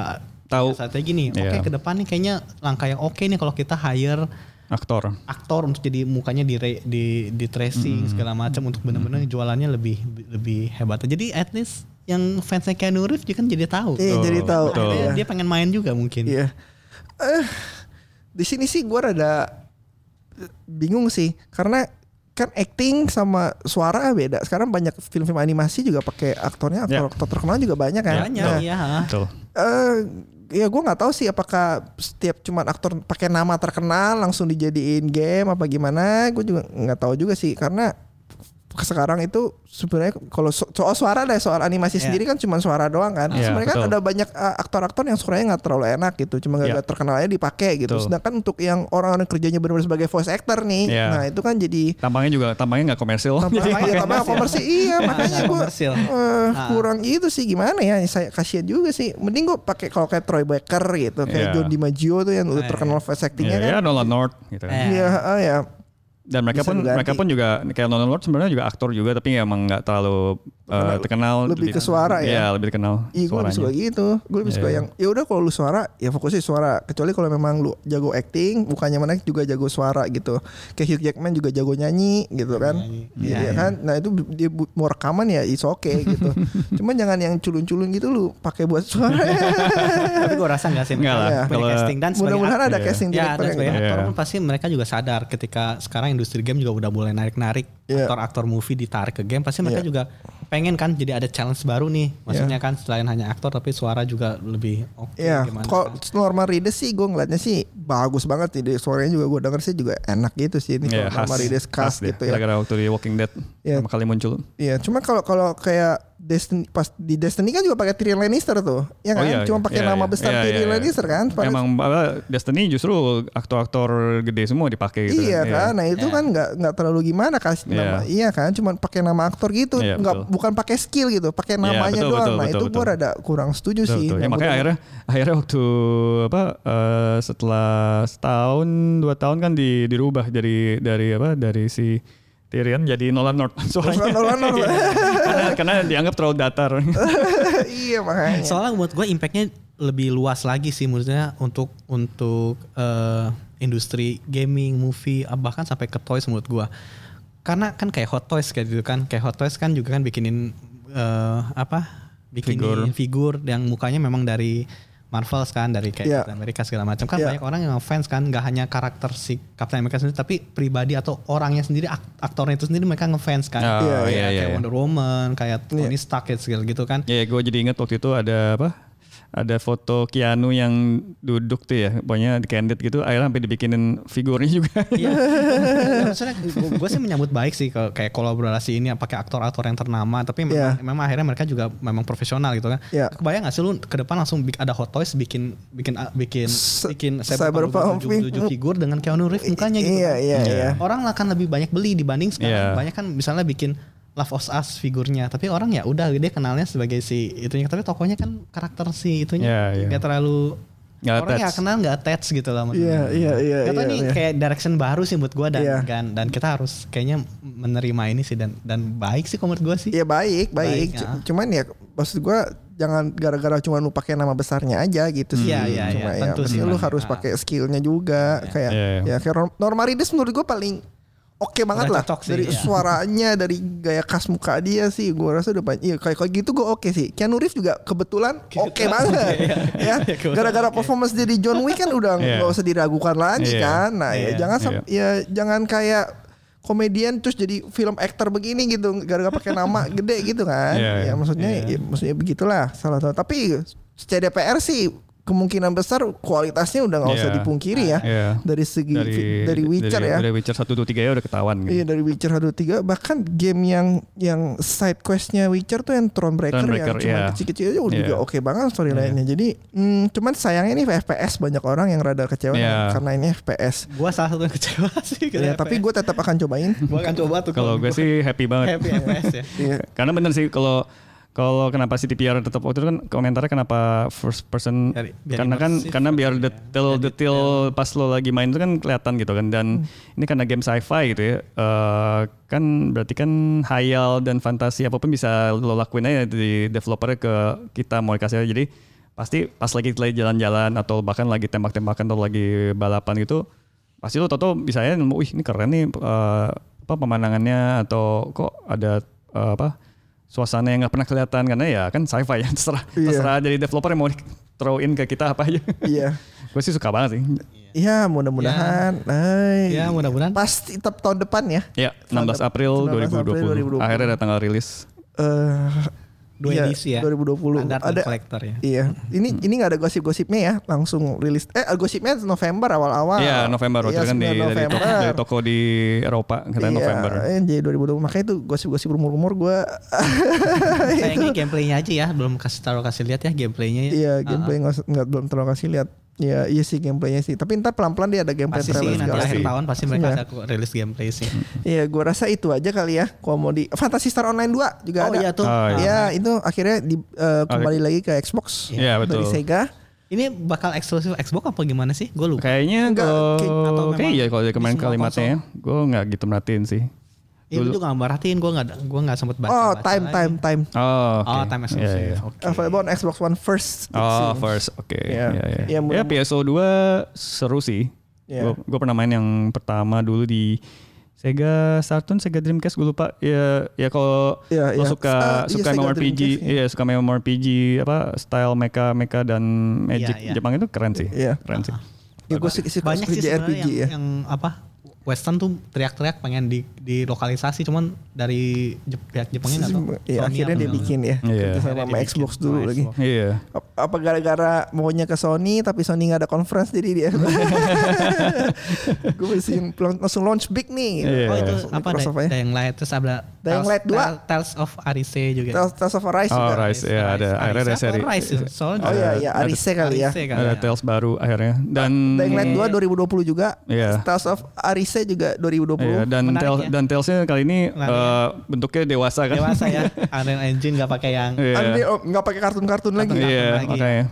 Speaker 3: Tahu.
Speaker 4: strategi nih. Oke
Speaker 3: Iya.
Speaker 4: ke depan nih kayaknya langkah yang oke nih kalau kita hire
Speaker 3: aktor. Ya.
Speaker 4: aktor untuk jadi mukanya di re- di, di
Speaker 3: Mm-hmm.
Speaker 4: tracing segala macam untuk benar-benar jualannya lebih lebih hebat. Jadi at least yang fansnya Keanu Reeves juga kan jadi tahu.
Speaker 2: Iya, jadi
Speaker 3: Betul,
Speaker 2: tahu.
Speaker 3: betul.
Speaker 2: Iya.
Speaker 4: Akhirnya dia pengen main juga mungkin.
Speaker 2: Iya. Eh, di sini sih gua rada bingung sih karena kan acting sama suara beda. Sekarang banyak film-film animasi juga pakai aktornya, aktor,
Speaker 3: Ya.
Speaker 2: aktor terkenal juga banyak kan.
Speaker 4: Banyak
Speaker 2: Nah,
Speaker 4: iya.
Speaker 3: Betul.
Speaker 2: eh, ya gue nggak tahu sih apakah setiap cuman aktor pakai nama terkenal langsung dijadiin game apa gimana gue juga nggak tahu juga sih karena sekarang itu sebenarnya kalau so- soal suara deh soal animasi
Speaker 4: Iya.
Speaker 2: sendiri kan cuman suara doang kan
Speaker 3: Iya,
Speaker 2: sebenarnya kan
Speaker 3: betul.
Speaker 2: ada banyak eh, aktor-aktor yang suaranya nggak terlalu enak gitu cuma
Speaker 3: Iya.
Speaker 2: gak terkenalnya dipakai gitu
Speaker 3: Betul.
Speaker 2: sedangkan untuk yang orang-orang kerjanya benar-benar sebagai voice actor nih
Speaker 3: Iya.
Speaker 2: nah itu kan jadi
Speaker 3: Tampangnya juga tampangnya nggak Oh, komersil.
Speaker 2: tambah
Speaker 4: Jadi
Speaker 2: ya, tambah
Speaker 4: komersil.
Speaker 2: komersil iya makanya gue
Speaker 4: Komersil. Ah.
Speaker 2: kurang itu sih gimana ya saya kasihan juga sih mending gue pakai kalau kayak Troy Baker gitu kayak
Speaker 3: Iya.
Speaker 2: John DiMaggio tuh yang udah
Speaker 4: Eh.
Speaker 2: terkenal voice actingnya
Speaker 3: Iya, ya,
Speaker 2: kan
Speaker 3: Nolan North gitu.
Speaker 4: Eh.
Speaker 2: iya ah, ya
Speaker 3: Dan mereka
Speaker 2: Bisa
Speaker 3: pun
Speaker 2: diganti.
Speaker 3: mereka pun juga kayak Nolan North sebenarnya juga aktor juga tapi emang nggak terlalu eh, terkenal.
Speaker 2: lebih ke suara ya.
Speaker 3: Iya, lebih terkenal
Speaker 2: Iya gue lebih suka
Speaker 3: suaranya.
Speaker 2: gitu Gue lebih suka
Speaker 3: Iya.
Speaker 2: yang ya udah kalau lu suara Ya fokusnya suara Kecuali kalau memang lu jago acting Bukannya mana juga jago suara gitu Kayak Hugh Jackman juga jago nyanyi gitu kan
Speaker 4: Nyanyi.
Speaker 2: Iya
Speaker 4: Iya,
Speaker 2: kan Nah itu dia bu- mau rekaman ya is oke gitu Cuman jangan yang culun-culun gitu lu pakai buat suara
Speaker 4: Tapi gue rasa nggak sih.
Speaker 3: Nggak lah,
Speaker 4: mereka punya
Speaker 3: kalau-
Speaker 4: casting dan sebagai
Speaker 2: Mudah-mudahan ada
Speaker 3: Iya.
Speaker 2: casting
Speaker 4: Ya,
Speaker 2: director
Speaker 4: dan
Speaker 2: yang
Speaker 4: sebagai
Speaker 3: gitu.
Speaker 4: aktor
Speaker 3: Iya.
Speaker 4: pun pasti mereka juga sadar ketika sekarang industri game juga udah mulai narik-narik
Speaker 2: Iya.
Speaker 4: aktor-aktor movie ditarik ke game, pasti mereka
Speaker 2: Iya.
Speaker 4: juga pengen kan jadi ada challenge baru nih. Maksudnya kan selain hanya aktor tapi suara juga lebih oke
Speaker 2: Iya,
Speaker 4: gimana. kan.
Speaker 2: kalau Norman Reedus sih gue ngeliatnya sih bagus banget sih. Suaranya juga gue denger sih juga enak gitu sih ini kalau
Speaker 3: Iya, khas.
Speaker 2: Norman Reedus khas
Speaker 3: dia.
Speaker 2: gitu ya.
Speaker 3: Gara-gara waktu di Walking Dead
Speaker 2: Iya.
Speaker 3: pertama kali muncul.
Speaker 2: Iya, cuma kalau kalau kayak Destiny pas di Destiny kan juga pakai Tyrion Lannister tuh. Ya
Speaker 3: Oh
Speaker 2: kan?
Speaker 3: iya,
Speaker 2: cuma
Speaker 3: iya,
Speaker 2: pakai
Speaker 3: iya,
Speaker 2: nama
Speaker 3: iya,
Speaker 2: besar
Speaker 3: iya,
Speaker 2: Tyrion
Speaker 3: iya.
Speaker 2: Lannister kan. Padahal-
Speaker 3: Emang apa, Destiny justru aktor-aktor gede semua dipakai gitu.
Speaker 2: iya kan? Nah, itu
Speaker 4: Iya.
Speaker 2: kan nggak nggak terlalu gimana kasih
Speaker 3: Iya.
Speaker 2: nama. Iya kan? Cuman pakai nama aktor gitu,
Speaker 3: Iya,
Speaker 2: nggak
Speaker 3: betul. Iya,
Speaker 2: bukan pakai skill gitu, pakai namanya
Speaker 3: betul,
Speaker 2: doang.
Speaker 3: betul,
Speaker 2: nah,
Speaker 3: betul,
Speaker 2: itu gue
Speaker 3: betul.
Speaker 2: rada kurang setuju
Speaker 3: Betul,
Speaker 2: sih.
Speaker 3: betul. Ya,
Speaker 2: Nah,
Speaker 3: makanya
Speaker 2: gua-
Speaker 3: akhirnya akhirnya waktu apa eh, setelah setahun dua tahun kan di dirubah dari dari apa dari si Tyrion jadi Nolan North suaranya.
Speaker 2: Nolan North.
Speaker 3: Iya. karena, karena dianggap terlalu datar.
Speaker 2: iya makanya.
Speaker 4: Soalnya buat gue impactnya lebih luas lagi sih maksudnya untuk untuk eh, industri gaming, movie, ah, bahkan sampai ke toys menurut gue. Karena kan kayak Hot Toys kayak gitu kan, kayak Hot Toys kan juga kan bikinin eh, apa? Bikinin figur. yang mukanya memang dari Marvel kan, dari kayak
Speaker 2: Iya.
Speaker 4: Captain America segala macam kan
Speaker 2: Iya.
Speaker 4: banyak orang yang fans kan, nggak hanya karakter si Captain America sendiri, tapi pribadi atau orangnya sendiri, ak- aktornya itu sendiri mereka ngefans kan.
Speaker 3: Ah,
Speaker 2: Iya,
Speaker 3: iya,
Speaker 4: kayak
Speaker 3: iya, iya.
Speaker 4: Wonder Woman, kayak Tony Stark kayak segala gitu kan.
Speaker 3: Ya, gue jadi ingat waktu itu ada apa? Ada foto Keanu yang duduk tuh ya, pokoknya di candid gitu. Akhirnya sampai dibikinin figurnya juga.
Speaker 4: Iya. Ya, maksudnya gue sih menyambut baik sih ke- kayak kolaborasi ini pakai aktor-aktor yang ternama tapi
Speaker 2: Iya.
Speaker 4: memang, memang akhirnya mereka juga memang profesional gitu kan.
Speaker 2: Iya.
Speaker 4: Kebayang gak sih lu ke depan langsung bik- ada Hot Toys bikin bikin ah, bikin
Speaker 2: Se-
Speaker 4: bikin
Speaker 2: Cyberpunk
Speaker 4: tujuh- tujuh figur dengan Keanu Reeves mukanya gitu.
Speaker 2: Iya,
Speaker 4: kan.
Speaker 2: iya,
Speaker 3: Iya.
Speaker 2: iya.
Speaker 4: Orang akan lebih banyak beli dibanding
Speaker 3: Iya.
Speaker 4: sekarang banyak kan misalnya bikin Love of Us figurnya tapi orang ya udah dia kenalnya sebagai si itunya tapi tokonya kan karakter si itunya
Speaker 3: Iya, iya.
Speaker 4: nggak terlalu
Speaker 3: Nggak
Speaker 4: orang ya
Speaker 3: attached.
Speaker 4: kenal nggak attached gitu lah
Speaker 2: Iya, iya, iya.
Speaker 4: Gak tau
Speaker 2: iya,
Speaker 4: nih
Speaker 2: iya.
Speaker 4: kayak direction baru sih buat gue dan,
Speaker 2: Iya.
Speaker 4: dan dan kita harus kayaknya menerima ini sih dan dan baik sih kalau menurut gue sih.
Speaker 2: Iya baik, baik.
Speaker 4: Baik,
Speaker 2: C-
Speaker 4: ya.
Speaker 2: Cuman ya maksud gua jangan gara-gara cuma lu pakai nama besarnya aja gitu sih.
Speaker 4: Iya, iya, iya.
Speaker 2: Cuma ya,
Speaker 4: Tentu sih,
Speaker 2: maksudnya lu
Speaker 4: Mas.
Speaker 2: harus
Speaker 4: Ah.
Speaker 2: pakai skillnya juga kayak
Speaker 3: Iya, iya.
Speaker 2: ya kayak Norm- Normarides menurut gua paling oke banget
Speaker 4: Udah
Speaker 2: lah
Speaker 4: cocok sih,
Speaker 2: dari
Speaker 4: iya.
Speaker 2: suaranya dari gaya khas muka dia sih gue rasa udah banyak iya kayak kayak gitu gue oke sih Keanu Reeves juga kebetulan oke banget
Speaker 4: Iya,
Speaker 2: ya gara-gara performance dia di John Wick kan udah
Speaker 3: Iya.
Speaker 2: nggak usah diragukan lagi
Speaker 3: Iya.
Speaker 2: kan nah ya
Speaker 4: Iya.
Speaker 2: jangan sam- ya jangan kayak komedian terus jadi film aktor begini gitu gara-gara pakai nama gede gitu kan
Speaker 3: Iya,
Speaker 2: ya
Speaker 3: iya.
Speaker 2: maksudnya ya, maksudnya begitulah salah satu tapi CDPR sih kemungkinan besar kualitasnya udah nggak usah
Speaker 3: Iya.
Speaker 2: dipungkiri ya
Speaker 3: Iya.
Speaker 2: dari segi
Speaker 3: dari
Speaker 2: fi- dari Witcher
Speaker 3: dari-
Speaker 2: ya.
Speaker 3: Dari Witcher 1 2 3 ya udah ketahuan gitu.
Speaker 2: Iya dari Witcher 1 2 3 bahkan game yang yang side questnya Witcher tuh yang Thronebreaker,
Speaker 3: Thronebreaker,
Speaker 2: yang cuma
Speaker 3: iya.
Speaker 2: kecil-kecil aja udah
Speaker 3: Iya.
Speaker 2: juga oke banget storyline-nya. Jadi mm, cuman sayangnya nih FPS banyak orang yang rada kecewa
Speaker 3: Iya.
Speaker 2: karena ini FPS.
Speaker 4: Gua salah satu yang kecewa sih.
Speaker 2: Ya, tapi gue tetap akan cobain.
Speaker 4: gue akan kan coba tuh.
Speaker 3: Kalau gue sih happy banget.
Speaker 4: happy FPS ya.
Speaker 2: Iya.
Speaker 3: Karena bener sih kalau kalau kenapa CTPR tetap waktu itu kan komentarnya kenapa first person
Speaker 4: Biar- biar
Speaker 3: karena kan
Speaker 4: imersif.
Speaker 3: karena biar detail detail pas lo lagi main itu kan kelihatan gitu kan dan ini karena game sci-fi gitu ya eh, kan berarti kan hayal dan fantasi apapun bisa lo lakuin aja di developernya ke kita mau kasih jadi pasti pas lagi lagi jalan-jalan atau bahkan lagi tembak-tembakan atau lagi balapan gitu pasti lo toto bisa ya nemu "Wih, ini keren nih eh, apa pemandangannya atau kok ada eh, apa suasana yang nggak pernah kelihatan karena ya kan sci-fi ya terserah
Speaker 2: Iya.
Speaker 3: terserah dari developer yang mau di- throw in ke kita apa aja
Speaker 2: Iya.
Speaker 3: gue sih suka banget sih
Speaker 2: Iya, mudah-mudahan. Ay.
Speaker 4: Ya mudah-mudahan.
Speaker 2: Pasti tetap tahun depan ya.
Speaker 3: ya 16 April
Speaker 2: 19 April
Speaker 3: 2020,
Speaker 2: 2020.
Speaker 3: akhirnya ada tanggal rilis
Speaker 2: Eh
Speaker 4: Dua
Speaker 2: iya,
Speaker 4: edisi ya.
Speaker 2: 2020.
Speaker 4: Standar dan
Speaker 2: Ada
Speaker 4: kolektor ya.
Speaker 2: Iya, ini ini nggak ada gosip-gosipnya ya, langsung rilis. Eh, gosipnya November awal-awal.
Speaker 3: Iya November waktu
Speaker 2: Iya,
Speaker 3: itu kan di,
Speaker 2: 9
Speaker 3: dari, toko,
Speaker 2: November.
Speaker 3: dari toko di Eropa katanya
Speaker 2: Iya,
Speaker 3: November
Speaker 2: eh, jadi 2020 makanya itu gosip-gosip rumor-rumor gue.
Speaker 4: Sayangnya gameplaynya aja ya, belum kasih taruh kasih lihat ya gameplaynya ya.
Speaker 2: Iya, gameplay nggak nggak belum terlalu kasih lihat. Iya, iya sih gameplaynya sih. Tapi ntar pelan-pelan dia ada gameplay
Speaker 4: Pasti sih
Speaker 2: trailer
Speaker 4: nanti
Speaker 2: segala.
Speaker 4: akhir tahun pasti mereka
Speaker 2: Iya.
Speaker 4: ada kok rilis gameplay sih.
Speaker 2: Iya, gue rasa itu aja kali ya. Komodi Fantasy Star Online 2 juga
Speaker 4: Oh
Speaker 2: ada.
Speaker 4: iya tuh.
Speaker 3: Oh, iya.
Speaker 2: Iya, itu akhirnya di, eh, kembali lagi ke Xbox
Speaker 3: Iya,
Speaker 2: dari
Speaker 3: betul.
Speaker 2: Sega.
Speaker 4: Ini bakal eksklusif Xbox apa gimana sih? Gue lupa.
Speaker 3: kayaknya
Speaker 2: Enggak,
Speaker 4: kayak- atau
Speaker 3: kalau
Speaker 4: memang
Speaker 3: kayak iya kalau dari
Speaker 4: di
Speaker 3: kemarin
Speaker 4: semua
Speaker 3: kalimatnya ya gue nggak gitu merhatiin sih
Speaker 4: Iya, gue juga gak merhatiin, gue gak, gua gak sempet baca.
Speaker 2: Oh, time, time, time.
Speaker 3: oh oke
Speaker 4: Oh, time
Speaker 3: Iya,
Speaker 4: exclusive.
Speaker 3: iya.
Speaker 4: Oke.
Speaker 2: Available on Xbox One first. it
Speaker 3: Oh,
Speaker 2: seems.
Speaker 3: first, oke.
Speaker 2: Iya.
Speaker 3: Ya, ya.
Speaker 2: Iya,
Speaker 3: ya
Speaker 2: mudah-
Speaker 3: PSO 2 seru sih.
Speaker 2: Iya.
Speaker 3: Gue pernah main yang pertama dulu di Sega Saturn, Sega Dreamcast gue lupa. Ya, ya kalau
Speaker 2: Iya,
Speaker 3: lo
Speaker 2: iya.
Speaker 3: suka
Speaker 2: Ah, iya,
Speaker 3: suka
Speaker 2: Sega
Speaker 3: MMORPG,
Speaker 2: Dreamcast,
Speaker 3: iya suka MMORPG apa style mecha mecha dan magic
Speaker 4: iya.
Speaker 3: Jepang itu keren sih.
Speaker 2: Iya.
Speaker 3: Keren
Speaker 4: Ah,
Speaker 3: sih.
Speaker 2: Ya, gue sih suka
Speaker 4: Banyak sih sebenarnya
Speaker 2: RPG
Speaker 4: yang,
Speaker 2: ya.
Speaker 4: yang apa Western tuh teriak-teriak pengen di dilokalisasi cuman dari Jep- pihak Jepangnya nggak tahu.
Speaker 2: Iya,
Speaker 4: Sony
Speaker 2: akhirnya
Speaker 4: apa
Speaker 2: dia
Speaker 4: nggak.
Speaker 2: bikin ya.
Speaker 3: Iya.
Speaker 2: Kerja sama sama
Speaker 4: Akhirnya dia
Speaker 2: Xbox
Speaker 4: bikin
Speaker 2: dulu
Speaker 4: sama
Speaker 2: lagi.
Speaker 4: Xbox.
Speaker 3: Iya.
Speaker 2: Ap- Apa gara-gara maunya ke Sony tapi Sony nggak ada conference jadi dia. gue mesti yang pulang- langsung launch big nih.
Speaker 3: Iya.
Speaker 4: Oh itu
Speaker 2: Langsung
Speaker 4: apa
Speaker 2: Microsoft ya.
Speaker 4: Dying Light terus ada
Speaker 2: Dying
Speaker 4: Tales-
Speaker 2: Light dua.
Speaker 4: Tales- Tales of Arise juga.
Speaker 2: Tales, Tales of Arise
Speaker 3: Oh,
Speaker 2: juga.
Speaker 3: Rise, ya ada
Speaker 4: Arise
Speaker 3: akhirnya ada
Speaker 4: apa
Speaker 3: seri.
Speaker 4: Rise ya? Soalnya
Speaker 2: Oh iya iya
Speaker 3: Ada-
Speaker 2: Arise kali ya.
Speaker 4: Arise kali
Speaker 3: Ada
Speaker 4: ya.
Speaker 3: Tales kan? baru akhirnya dan
Speaker 2: Dying Light 2 2020 juga.
Speaker 3: Hmm. Iya.
Speaker 2: Tales of Arise juga 2020.
Speaker 3: Iya, dan
Speaker 4: Menarik
Speaker 3: Tales
Speaker 4: ya.
Speaker 3: dan Talesnya kali ini
Speaker 4: Menarik ya.
Speaker 3: eh, bentuknya dewasa kan.
Speaker 4: Dewasa ya. Unreal Engine nggak pakai yang
Speaker 3: Iya.
Speaker 2: Unreal oh, nggak pakai kartun-kartun lagi.
Speaker 4: Kartun.
Speaker 3: Iya,
Speaker 4: lagi.
Speaker 3: makanya.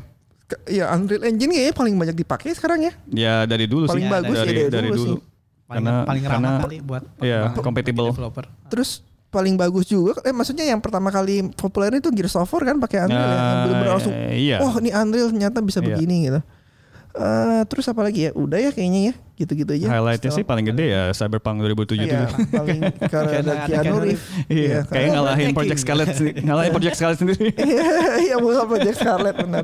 Speaker 2: Ke- Iya Unreal Engine kayaknya paling banyak dipakai sekarang ya.
Speaker 3: Ya dari dulu
Speaker 2: Paling
Speaker 3: sih.
Speaker 2: bagus ya
Speaker 3: dari,
Speaker 2: dari
Speaker 3: dari
Speaker 2: dulu
Speaker 3: dulu.
Speaker 2: sih.
Speaker 4: paling,
Speaker 3: Karena-
Speaker 4: paling ramah
Speaker 3: karena-
Speaker 4: kali buat
Speaker 3: iya,
Speaker 4: perkembangan
Speaker 3: compatible.
Speaker 4: developer.
Speaker 2: Terus paling bagus juga eh maksudnya yang pertama kali populer itu Gears of War kan pakai Unreal ya. Yang
Speaker 3: Nah,
Speaker 2: bener-bener langsung
Speaker 3: iya.
Speaker 2: oh ini Unreal ternyata bisa
Speaker 3: Iya.
Speaker 2: begini gitu. Eh terus apa lagi ya? Udah ya kayaknya ya. Gitu-gitu aja.
Speaker 3: Highlightnya sih
Speaker 2: Setelah-
Speaker 3: paling gede ya Cyberpunk 2077
Speaker 2: Iya,
Speaker 3: dulu.
Speaker 2: paling karena ada
Speaker 4: Karena ada
Speaker 2: Keanu
Speaker 4: Keanu
Speaker 2: Reeves.
Speaker 3: Iya, gitu. kayak
Speaker 2: karena-
Speaker 3: ngalahin
Speaker 4: Hacking.
Speaker 3: Project Scarlet sih. Ngalahin Project Scarlet sendiri.
Speaker 2: Iya, iya bukan Project Scarlet benar.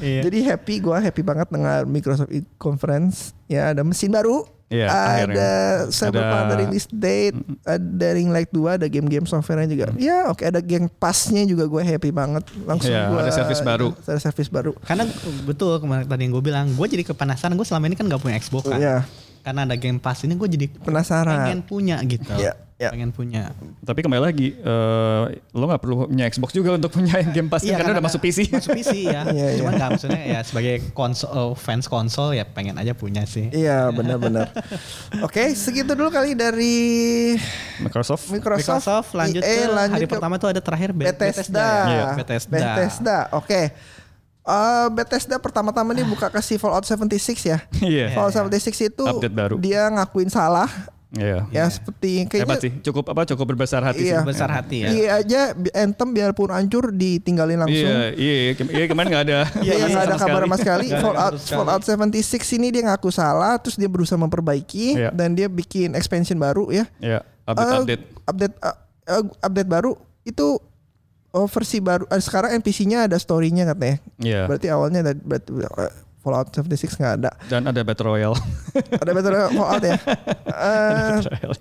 Speaker 4: Iya.
Speaker 2: Jadi happy gua happy banget dengan Microsoft e- Conference. Ya ada mesin baru.
Speaker 3: Iya, akhirnya.
Speaker 2: ada Cyberpunk
Speaker 3: Ada-
Speaker 2: ada release date, ada Ring Light 2, ada game-game software-nya juga. Ya, oke ada Game Pass-nya juga gue happy banget. Langsung
Speaker 3: Iya,
Speaker 2: gua-
Speaker 3: ada service baru.
Speaker 2: Ada service baru.
Speaker 4: Karena betul kemarin tadi yang gue bilang, gue jadi kepanasan. Gue selama ini kan nggak punya Xbox kan.
Speaker 2: Iya.
Speaker 4: Karena ada Game Pass ini gue jadi pengen
Speaker 2: Penasaran.
Speaker 4: punya gitu.
Speaker 2: Iya, iya.
Speaker 4: Pengen punya.
Speaker 3: Tapi kembali lagi, eh, lo nggak perlu punya Xbox juga untuk punya Game Pass
Speaker 4: Iya,
Speaker 3: kan, karena udah masuk PC.
Speaker 4: Masuk PC ya.
Speaker 2: Iya, iya.
Speaker 4: Cuman nggak maksudnya ya sebagai konsol eh, fans konsol ya pengen aja punya sih.
Speaker 2: Iya, benar-benar. oke, segitu dulu kali dari
Speaker 3: Microsoft.
Speaker 2: Microsoft.
Speaker 4: Microsoft lanjut
Speaker 2: EA,
Speaker 4: ke
Speaker 2: lanjut
Speaker 4: hari
Speaker 2: ke
Speaker 4: pertama tuh ada terakhir Be-
Speaker 2: Bethesda.
Speaker 4: ya.
Speaker 3: Iya.
Speaker 4: Bethesda.
Speaker 2: Bethesda, Oke. Eh, Bethesda pertama-tama nih buka kasih Fallout 76 ya.
Speaker 3: Iya.
Speaker 2: Fallout 76 itu
Speaker 3: Update baru.
Speaker 2: dia ngakuin salah
Speaker 3: Iya.
Speaker 2: Ya seperti kayaknya
Speaker 3: Hebat sih. Cukup apa? Cukup berbesar hati
Speaker 2: Iya.
Speaker 3: sih.
Speaker 4: Besar hati ya.
Speaker 2: Iya aja Anthem biarpun hancur ditinggalin langsung.
Speaker 3: Iya, iya, kem- iya, kemarin nggak ada.
Speaker 2: Iya, iya, nggak ada
Speaker 3: sama
Speaker 2: kabar sama sekali.
Speaker 3: sekali.
Speaker 4: Nggak ada
Speaker 2: Fallout,
Speaker 4: kabar sama
Speaker 2: Fallout 76 ini dia ngaku salah, terus dia berusaha memperbaiki
Speaker 3: Iya.
Speaker 2: dan dia bikin expansion baru ya.
Speaker 3: Iya, update update.
Speaker 2: Eh, update eh, eh, update baru itu oh, versi baru. eh, sekarang NPC-nya ada story-nya katanya.
Speaker 3: Iya.
Speaker 2: Berarti awalnya ada berarti, eh, Fallout 76 nggak ada.
Speaker 3: Dan ada battle royale.
Speaker 2: Eh. Ada better Fallout ya. Eh,
Speaker 3: Battle royale.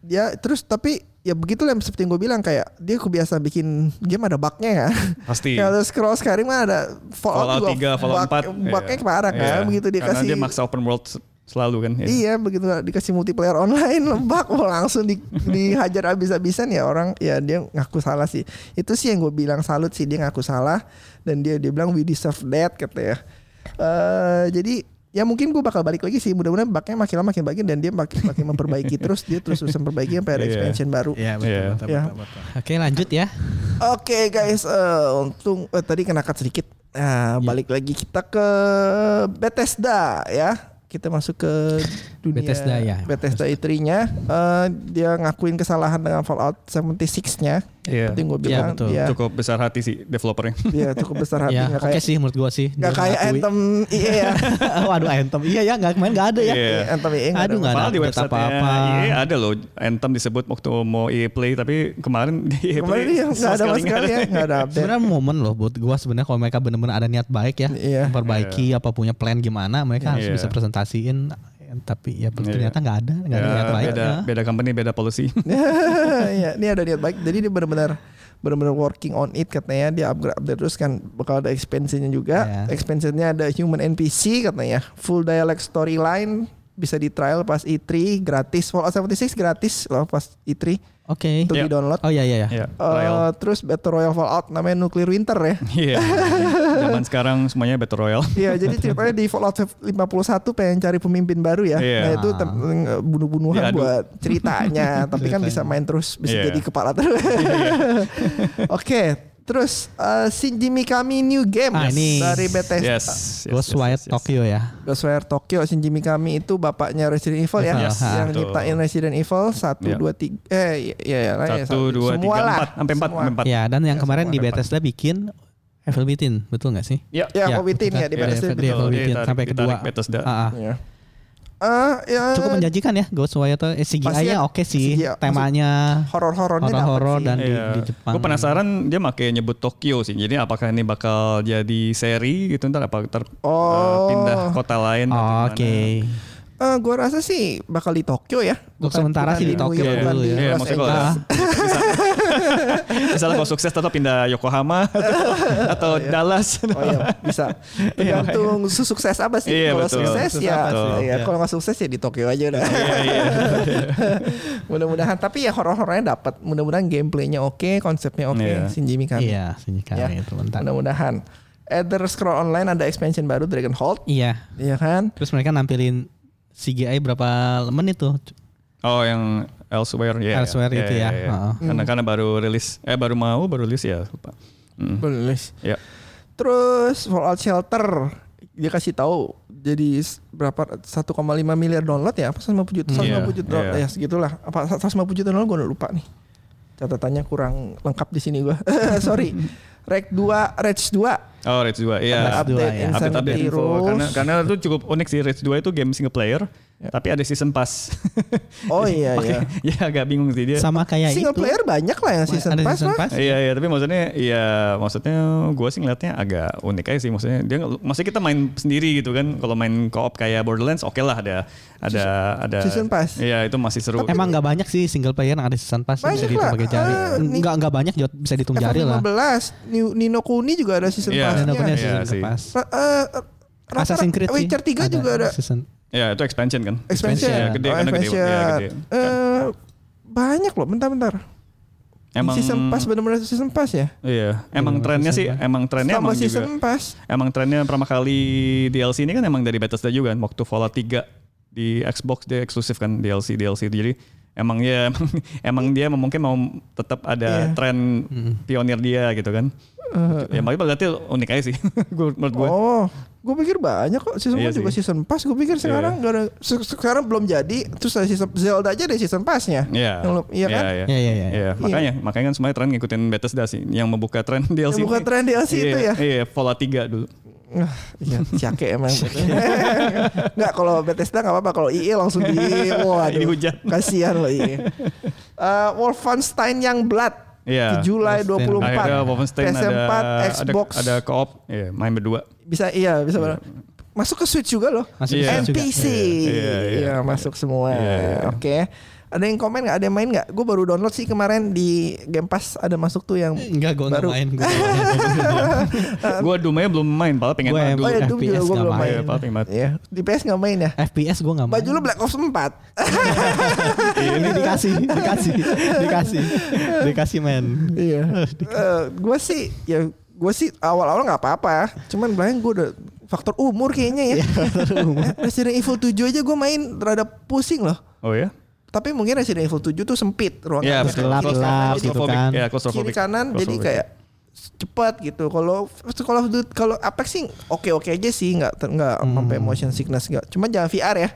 Speaker 2: ya terus tapi ya begitu lah seperti yang gue bilang kayak dia kebiasa bikin game ada bugnya ya
Speaker 3: Pasti.
Speaker 2: ya terus scroll sekarang mah ada
Speaker 3: Iya. Fallout
Speaker 2: juga
Speaker 3: 3, Fallout 4.
Speaker 2: bug, bugnya
Speaker 3: Iya.
Speaker 2: parah kan
Speaker 3: Iya.
Speaker 2: begitu dia
Speaker 3: Karena
Speaker 2: kasih
Speaker 3: dia maksa open world s- selalu kan. Iya.
Speaker 2: iya begitu dikasih multiplayer online lembak wah, langsung di- dihajar abis-abisan ya orang ya dia ngaku salah sih itu sih yang gue bilang salut sih dia ngaku salah dan dia dia bilang we deserve that katanya Eh jadi ya mungkin gue bakal balik lagi sih mudah-mudahan bugnya makin lama makin baik dan dia makin makin memperbaiki terus dia terus terus memperbaiki sampai ada
Speaker 3: Iya.
Speaker 2: expansion baru
Speaker 4: Iya, betul,
Speaker 3: Iya.
Speaker 4: betul,
Speaker 2: Iya.
Speaker 4: betul, betul. Oke, lanjut ya.
Speaker 2: Oke guys, eh, untung eh, tadi kena cut sedikit.
Speaker 4: Iya.
Speaker 2: Nah, balik lagi kita ke Bethesda ya. Kita masuk ke dunia
Speaker 4: Bethesda, ya.
Speaker 2: Bethesda E3-nya. Eh, dia ngakuin kesalahan dengan Fallout 76-nya.
Speaker 3: Iya.
Speaker 2: Seperti yang gue
Speaker 4: Iya,
Speaker 2: bilang,
Speaker 4: betul.
Speaker 2: dia,
Speaker 3: Cukup besar hati sih developernya.
Speaker 2: dia cukup besar
Speaker 4: Ya,
Speaker 2: hatinya
Speaker 4: oke
Speaker 2: kayak
Speaker 4: sih menurut gua sih.
Speaker 2: nggak
Speaker 4: Dia
Speaker 2: kayak
Speaker 4: ngakui.
Speaker 2: Anthem EA ya.
Speaker 4: Waduh, Anthem. Iya ya, nggak kemarin nggak ada ya.
Speaker 3: Iya.
Speaker 2: Anthem EA nggak
Speaker 4: Aduh,
Speaker 2: ada.
Speaker 4: nggak ada
Speaker 3: Padahal di
Speaker 4: update
Speaker 3: website
Speaker 4: apa-apa.
Speaker 3: apa-apa. Iya, ada loh. Anthem disebut waktu mau EA Play tapi kemarin di EA Play
Speaker 2: Kemarin dia nggak
Speaker 3: sama
Speaker 2: ada sama sekali ya, nggak ada update.
Speaker 4: Sebenarnya momen loh buat gua sebenarnya kalau mereka benar-benar ada niat baik ya,
Speaker 2: Iya.
Speaker 4: memperbaiki apa punya plan gimana, mereka harus
Speaker 3: Iya.
Speaker 4: bisa presentasiin. eh, Tapi
Speaker 3: Iya.
Speaker 4: ya ternyata nggak ada, nggak ada
Speaker 3: Ya,
Speaker 4: niat baik.
Speaker 3: beda,
Speaker 4: ya.
Speaker 3: beda company, beda policy.
Speaker 2: Iya, ini ada niat baik. Jadi dia benar-benar benar-benar working on it katanya dia upgrade update terus kan bakal ada expansionnya juga.
Speaker 4: Iya.
Speaker 2: Expansionnya ada human NPC katanya, full dialect storyline bisa di trial pas E3 gratis. Fallout 76 gratis loh pas E E3
Speaker 4: Oke.
Speaker 2: untuk
Speaker 3: Iya.
Speaker 2: di download.
Speaker 4: Oh iya iya ya.
Speaker 3: Iya,
Speaker 2: Eh,
Speaker 3: trial.
Speaker 2: terus Battle Royale Fallout namanya Nuclear Winter ya.
Speaker 3: Iya. Zaman sekarang semuanya battle royale.
Speaker 2: Iya, jadi ceritanya di Fallout 51 pengen cari pemimpin baru ya.
Speaker 3: Iya.
Speaker 2: Nah, itu tem- bunuh-bunuhan
Speaker 3: Diadu.
Speaker 2: buat ceritanya, tapi kan bisa main terus, bisa
Speaker 3: Iya.
Speaker 2: jadi kepala terus. Oke, terus eh, Shinji Mikami new game
Speaker 4: Ah, ini.
Speaker 2: dari Bethesda.
Speaker 3: Yes. yes,
Speaker 4: Ghostwire
Speaker 3: yes, yes, yes.
Speaker 4: Tokyo ya.
Speaker 2: Ghostwire Tokyo Shinji Mikami itu bapaknya Resident Evil ya,
Speaker 4: Yes,
Speaker 2: yang
Speaker 3: betul.
Speaker 2: nyiptain Resident Evil 1
Speaker 3: Iya.
Speaker 2: 2 3 eh iya, iya iya lah, ya,
Speaker 3: Satu,
Speaker 2: satu.
Speaker 3: dua,
Speaker 2: Semua
Speaker 3: tiga,
Speaker 2: lah.
Speaker 3: empat, sampai empat,
Speaker 2: Semua.
Speaker 3: sampai empat.
Speaker 4: Ya, dan yang
Speaker 2: Ya,
Speaker 4: kemarin
Speaker 2: semua
Speaker 4: di
Speaker 2: ada
Speaker 4: Bethesda bikin Evil Within, betul nggak sih?
Speaker 3: Ya.
Speaker 2: Ya, aku Within ya
Speaker 4: bukan.
Speaker 2: di Bethesda. itu.
Speaker 4: Iya, di Evil
Speaker 3: betul.
Speaker 4: Within,
Speaker 3: Ditarik-
Speaker 4: sampai kedua.
Speaker 3: ditarik Bethesda.
Speaker 4: Ah, ah.
Speaker 2: Iya. Eh, ya,
Speaker 4: Cukup menjanjikan ya Ghostwire Tokyo. Eh,
Speaker 2: Pasti
Speaker 4: CGI-nya
Speaker 2: ya,
Speaker 4: oke sih,
Speaker 2: CGI.
Speaker 4: temanya
Speaker 2: horor-horornya dapet
Speaker 4: horor-horor
Speaker 2: sih.
Speaker 4: dan Kan di,
Speaker 3: Iya.
Speaker 4: di Jepang.
Speaker 3: Gue penasaran dia pakai nyebut Tokyo sih. Jadi apakah ini bakal jadi seri gitu ntar apa ter eh,
Speaker 2: Oh.
Speaker 3: pindah kota lain? atau
Speaker 4: Oh, Oke.
Speaker 3: gimana.
Speaker 2: Eh, gua rasa sih bakal di Tokyo ya.
Speaker 4: Untuk sementara sih di Tokyo
Speaker 3: Iya,
Speaker 4: dulu ya.
Speaker 3: iya,
Speaker 2: Los
Speaker 3: maksudnya kalau
Speaker 2: Angeles.
Speaker 3: misalnya, misalnya kalau sukses tetap pindah Yokohama atau, atau Dallas.
Speaker 2: Oh iya bisa. Tergantung sukses apa sih.
Speaker 3: Iya,
Speaker 2: kalau
Speaker 3: betul.
Speaker 2: sukses
Speaker 3: Sukses
Speaker 2: ya,
Speaker 3: apa sih?
Speaker 4: Iya.
Speaker 2: ya. kalau nggak sukses ya di Tokyo aja udah.
Speaker 3: Iya, iya.
Speaker 2: Mudah-mudahan. Tapi ya horor-horornya dapat. Mudah-mudahan gameplaynya oke, konsepnya oke.
Speaker 3: Iya.
Speaker 2: Shinji Mikami.
Speaker 4: Iya, Shinji
Speaker 2: Kan? Ya.
Speaker 4: itu bentar.
Speaker 2: Mudah-mudahan. Ether Scroll Online ada expansion baru Dragon Hold.
Speaker 4: Iya.
Speaker 2: Iya kan?
Speaker 4: Terus mereka nampilin CGI berapa menit tuh?
Speaker 3: Oh yang elsewhere ya.
Speaker 4: Elsewhere
Speaker 2: gitu
Speaker 4: itu ya. Heeh.
Speaker 3: Karena karena baru rilis eh baru mau baru rilis ya lupa. Hmm.
Speaker 2: Boleh.
Speaker 3: Ya.
Speaker 2: Terus Fallout Shelter dia kasih tahu jadi s- berapa 1,5 miliar download ya apa 150 juta 150
Speaker 3: Iya,
Speaker 2: juta download,
Speaker 3: iya.
Speaker 2: ya segitulah apa 150 juta download gue udah lupa nih catatannya kurang lengkap di sini gue sorry Rek 2 Rage 2
Speaker 3: Oh Rage 2
Speaker 2: ada
Speaker 3: iya.
Speaker 4: Rage 2,
Speaker 2: update
Speaker 4: ya.
Speaker 2: Insanity
Speaker 3: Update-update info.
Speaker 2: Rules.
Speaker 3: Karena karena itu cukup unik sih Rage 2 itu game single player tapi ada season pass.
Speaker 2: oh iya iya
Speaker 3: Pakai- ya agak bingung sih dia.
Speaker 4: Sama kayak
Speaker 2: single
Speaker 4: Ya, itu.
Speaker 2: player banyak lah yang season
Speaker 4: ada
Speaker 2: pass
Speaker 4: season
Speaker 2: mah.
Speaker 4: pass.
Speaker 3: Iya iya tapi maksudnya iya maksudnya gue sih ngeliatnya agak unik aja sih maksudnya dia nggak- maksudnya kita main sendiri gitu kan kalau main co-op kayak Borderlands oke lah ada ada ada
Speaker 2: season pass.
Speaker 3: Iya itu masih seru.
Speaker 4: Emang nggak banyak sih single player yang ada season pass
Speaker 2: Banyak
Speaker 4: yang dihitung
Speaker 2: lah.
Speaker 4: pakai jari.
Speaker 2: Ah, nih-
Speaker 4: Nggak nggak banyak jod- bisa dihitung jari lah.
Speaker 2: F15 Ni- Nino Kuni juga ada season
Speaker 3: Iya.
Speaker 2: passnya
Speaker 4: Dan
Speaker 3: Nino
Speaker 4: punya
Speaker 3: Iya
Speaker 4: season
Speaker 3: sih.
Speaker 4: pass.
Speaker 2: Ra- eh, rata-
Speaker 4: Assassin's Creed sih.
Speaker 2: Witcher 3 juga ada
Speaker 4: season.
Speaker 3: Ya itu expansion kan.
Speaker 2: Expansion.
Speaker 3: Ya,
Speaker 2: Oh,
Speaker 3: gede karena gede.
Speaker 2: expansion.
Speaker 3: Ya, gede.
Speaker 2: Eh, banyak loh, bentar-bentar.
Speaker 3: Emang
Speaker 2: season pass benar-benar season pass ya?
Speaker 3: Iya, emang trennya sih, emang trennya
Speaker 2: Sama
Speaker 3: emang juga.
Speaker 2: season pass.
Speaker 3: Emang trennya pertama kali DLC ini kan emang dari Bethesda juga kan waktu Fallout 3 di Xbox dia eksklusif kan DLC DLC. Jadi emang ya emang, emang dia mungkin mau tetap
Speaker 2: Iya.
Speaker 3: ada
Speaker 2: Hmm.
Speaker 3: tren pionir dia gitu kan. ya makanya berarti unik aja sih gua- menurut gue.
Speaker 2: Eh, Oh, gue pikir banyak kok season
Speaker 3: Iya
Speaker 2: one juga
Speaker 3: sih. Iya,
Speaker 2: season pass. Gue pikir sekarang nggak ada, se- sekarang belum jadi. Terus ada season Zelda aja ada season passnya.
Speaker 3: Iya.
Speaker 2: Yang lu- iya kan?
Speaker 3: Iya,
Speaker 4: Iya, iya, iya.
Speaker 3: Iya, makanya makanya kan semuanya tren ngikutin Bethesda sih yang membuka tren DLC.
Speaker 2: Yang buka
Speaker 3: ini.
Speaker 2: tren DLC itu ya.
Speaker 3: Iya, Iya, Fallout 3 dulu.
Speaker 2: Ah, iya, cake emang. Enggak kalau Bethesda nggak apa-apa. Kalau IE langsung di wah
Speaker 3: Ini hujan.
Speaker 2: Kasihan loh IE. Eh, Wolfenstein yang Blood.
Speaker 3: Iya.
Speaker 2: Ke Julai
Speaker 4: Wolfenstein.
Speaker 2: 24.
Speaker 3: Akhirnya Wolfenstein
Speaker 2: PS4,
Speaker 3: ada,
Speaker 2: Xbox.
Speaker 3: ada ada co-op, iya, main berdua.
Speaker 2: Bisa iya, bisa benar. Masuk ke Switch juga loh.
Speaker 4: Masuk
Speaker 3: Iya.
Speaker 4: bisa juga.
Speaker 2: NPC.
Speaker 3: Iya,
Speaker 2: Iya,
Speaker 3: iya, iya.
Speaker 2: masuk semua.
Speaker 3: Iya, iya.
Speaker 2: Oke. Ada yang komen nggak? Ada yang main nggak? Gue baru download sih kemarin di Game Pass ada masuk tuh yang
Speaker 4: Enggak, gue nggak
Speaker 2: Baru.
Speaker 4: main. Gue nggak main.
Speaker 3: Gua Doom-nya belum main, padahal pengen
Speaker 4: Gua
Speaker 3: main
Speaker 4: yang-
Speaker 3: dulu.
Speaker 2: Eh. Oh ya Doom juga
Speaker 4: FPS
Speaker 2: gue
Speaker 4: nggak
Speaker 2: belum
Speaker 4: main.
Speaker 2: main.
Speaker 3: Iya, paling main.
Speaker 2: Iya, di PS nggak main ya.
Speaker 4: FPS gue nggak main.
Speaker 2: Baju lu Black Ops 4.
Speaker 4: ini dikasih, dikasih, dikasih, dikasih men.
Speaker 2: Iya. gue sih ya gue sih awal-awal nggak apa-apa. Cuman belakang gue udah faktor umur kayaknya ya. Resident Evil 7 aja gue main terhadap pusing loh.
Speaker 3: Oh ya?
Speaker 2: Tapi mungkin Resident Evil 7 tuh sempit ruangnya.
Speaker 4: betul. gelap-gelap gitu
Speaker 3: Claustrophobic.
Speaker 4: kan.
Speaker 3: Iya,
Speaker 2: Kiri
Speaker 3: claustrophobic.
Speaker 2: kanan jadi
Speaker 3: Claustrophobic. iya.
Speaker 2: kayak cepat gitu. Kalau kalau kalau Apex sih oke-oke aja sih nggak ter- nggak
Speaker 3: Hmm.
Speaker 2: sampai motion sickness nggak. Cuman jangan VR ya.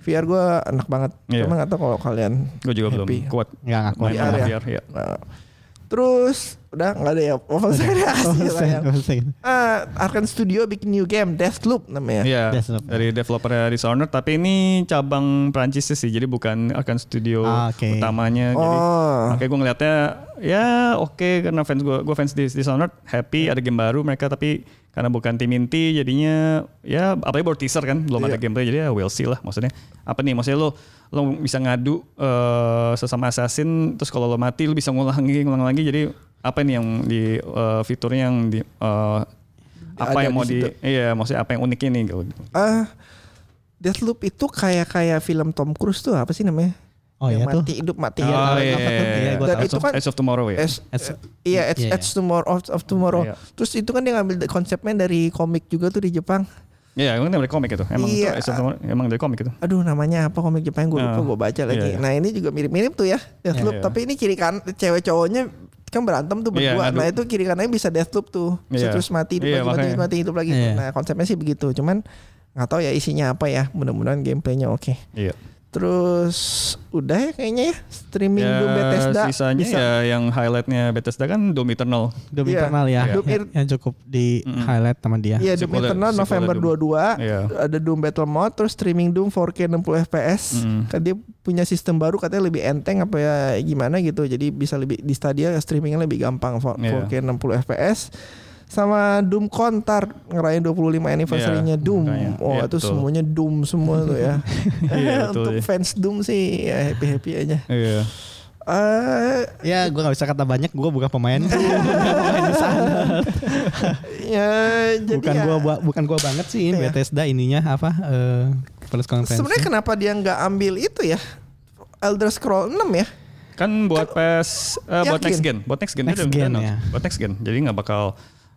Speaker 2: VR gue enak banget.
Speaker 3: Iya.
Speaker 2: Cuma nggak tahu kalau kalian
Speaker 3: Gue juga belum
Speaker 2: happy. ya.
Speaker 3: kuat.
Speaker 4: Nggak ngaku.
Speaker 3: Main
Speaker 2: VR
Speaker 3: VR,
Speaker 2: ya?
Speaker 3: VR ya.
Speaker 2: Nah, terus udah nggak ada ya. Wolfenstein ya,
Speaker 4: Oh,
Speaker 2: kasih lah ya. Ah, Arkane Studio bikin new game Deathloop namanya.
Speaker 3: Iya,
Speaker 4: Deathloop.
Speaker 3: dari developer Dishonored, tapi ini cabang Prancis sih, jadi bukan akan studio
Speaker 4: Ah, oke.
Speaker 3: utamanya. Jadi
Speaker 2: Oh.
Speaker 3: makanya gue ngelihatnya ya oke karena fans gue, gue fans Dis- Dishonored happy
Speaker 4: Iya.
Speaker 3: ada game baru mereka, tapi karena bukan tim inti jadinya ya apalagi baru teaser kan, belum ada
Speaker 2: Iya.
Speaker 3: gameplay, jadi ya we'll see lah. Maksudnya apa nih? Maksudnya lo lo bisa ngadu eh, sesama assassin, terus kalau lo mati lo bisa ngulang lagi, ngulang lagi. Jadi apa nih yang di eh, fiturnya yang di eh, apa
Speaker 2: Ada
Speaker 3: yang
Speaker 2: di
Speaker 3: mau di,
Speaker 2: situ.
Speaker 3: iya maksudnya apa yang unik ini gitu.
Speaker 2: Ah, Deathloop itu kayak kayak film Tom Cruise tuh apa sih namanya?
Speaker 4: Oh
Speaker 2: Yang
Speaker 4: iya tuh.
Speaker 2: mati hidup mati
Speaker 4: Iya,
Speaker 3: Oh,
Speaker 4: tahu,
Speaker 3: iya,
Speaker 4: apa tuh?
Speaker 3: iya,
Speaker 4: Iya,
Speaker 3: iya.
Speaker 4: gua
Speaker 2: Dan
Speaker 3: Edge
Speaker 2: itu
Speaker 3: of-
Speaker 2: kan-
Speaker 3: Edge of Tomorrow ya.
Speaker 2: As-
Speaker 4: Edge-
Speaker 2: iya, Edge,
Speaker 4: iya,
Speaker 2: Edge Tomorrow of, of Tomorrow.
Speaker 3: Iya.
Speaker 2: Terus itu kan dia ngambil konsepnya dari komik juga tuh di Jepang.
Speaker 3: Iya, emang dari komik itu. Emang itu
Speaker 2: Iya.
Speaker 3: Edge of Tomorrow, emang dari komik itu.
Speaker 2: Aduh namanya apa komik Jepang gue lupa
Speaker 3: Ah,
Speaker 2: gue baca lagi.
Speaker 3: iya, iya.
Speaker 2: Nah ini juga mirip-mirip tuh ya Deathloop.
Speaker 3: Iya, iya.
Speaker 2: Tapi ini kiri kan cewek cowoknya kan berantem tuh
Speaker 3: Iya,
Speaker 2: berdua.
Speaker 3: ngadu.
Speaker 2: nah itu kiri kanannya bisa Deathloop tuh. Bisa
Speaker 3: Iya.
Speaker 2: terus mati hidup
Speaker 3: Iya,
Speaker 2: lagi mati
Speaker 3: makanya.
Speaker 2: hidup, mati hidup lagi.
Speaker 4: Iya.
Speaker 2: Nah konsepnya sih begitu. Cuman nggak tahu ya isinya apa ya. Mudah-mudahan gameplaynya oke.
Speaker 3: Iya.
Speaker 2: Terus udah ya kayaknya ya streaming
Speaker 3: Ya,
Speaker 2: Doom Bethesda.
Speaker 3: sisanya
Speaker 2: bisa.
Speaker 3: ya yang highlightnya Bethesda kan Doom Eternal.
Speaker 4: Doom
Speaker 2: Iya.
Speaker 4: Eternal ya.
Speaker 2: Doom Eternal.
Speaker 4: Yang cukup di highlight sama dia.
Speaker 2: Iya Doom
Speaker 3: Sequelnya-
Speaker 2: Eternal
Speaker 3: sequelnya
Speaker 2: November
Speaker 3: Doom.
Speaker 2: 22
Speaker 3: Iya.
Speaker 2: ada Doom Battle Mode terus streaming Doom 4K 60 FPS.
Speaker 3: Mm.
Speaker 2: Kan dia punya sistem baru katanya lebih enteng apa ya gimana gitu. Jadi bisa lebih di Stadia streamingnya lebih gampang for-
Speaker 3: Iya.
Speaker 2: 4K 60 FPS. Sama Doom Kontar ngerayain 25 anniversary-nya
Speaker 3: Iya,
Speaker 2: Doom.
Speaker 3: makanya.
Speaker 2: Oh,
Speaker 3: Iya,
Speaker 2: itu
Speaker 3: betul.
Speaker 2: semuanya Doom semua tuh ya.
Speaker 3: Iya, betul
Speaker 2: Untuk
Speaker 3: sih.
Speaker 2: fans Doom sih ya happy-happy aja.
Speaker 3: Iya.
Speaker 2: Eh
Speaker 4: Ya, gue nggak bisa kata banyak. Gue bukan pemain. Pemain di sana.
Speaker 2: ya jadi
Speaker 4: bukan
Speaker 2: ya,
Speaker 4: gua ba- bukan gua banget sih ini
Speaker 2: Iya.
Speaker 4: Bethesda ininya apa eh press conference.
Speaker 2: Sebenarnya kenapa dia nggak ambil itu ya? Elder Scroll 6 ya?
Speaker 3: Kan buat PS eh, buat
Speaker 2: Yakin?
Speaker 3: next gen, buat next gen dia
Speaker 4: Next
Speaker 3: udah
Speaker 4: gen,
Speaker 3: announce.
Speaker 4: ya.
Speaker 3: Buat next gen. Jadi nggak bakal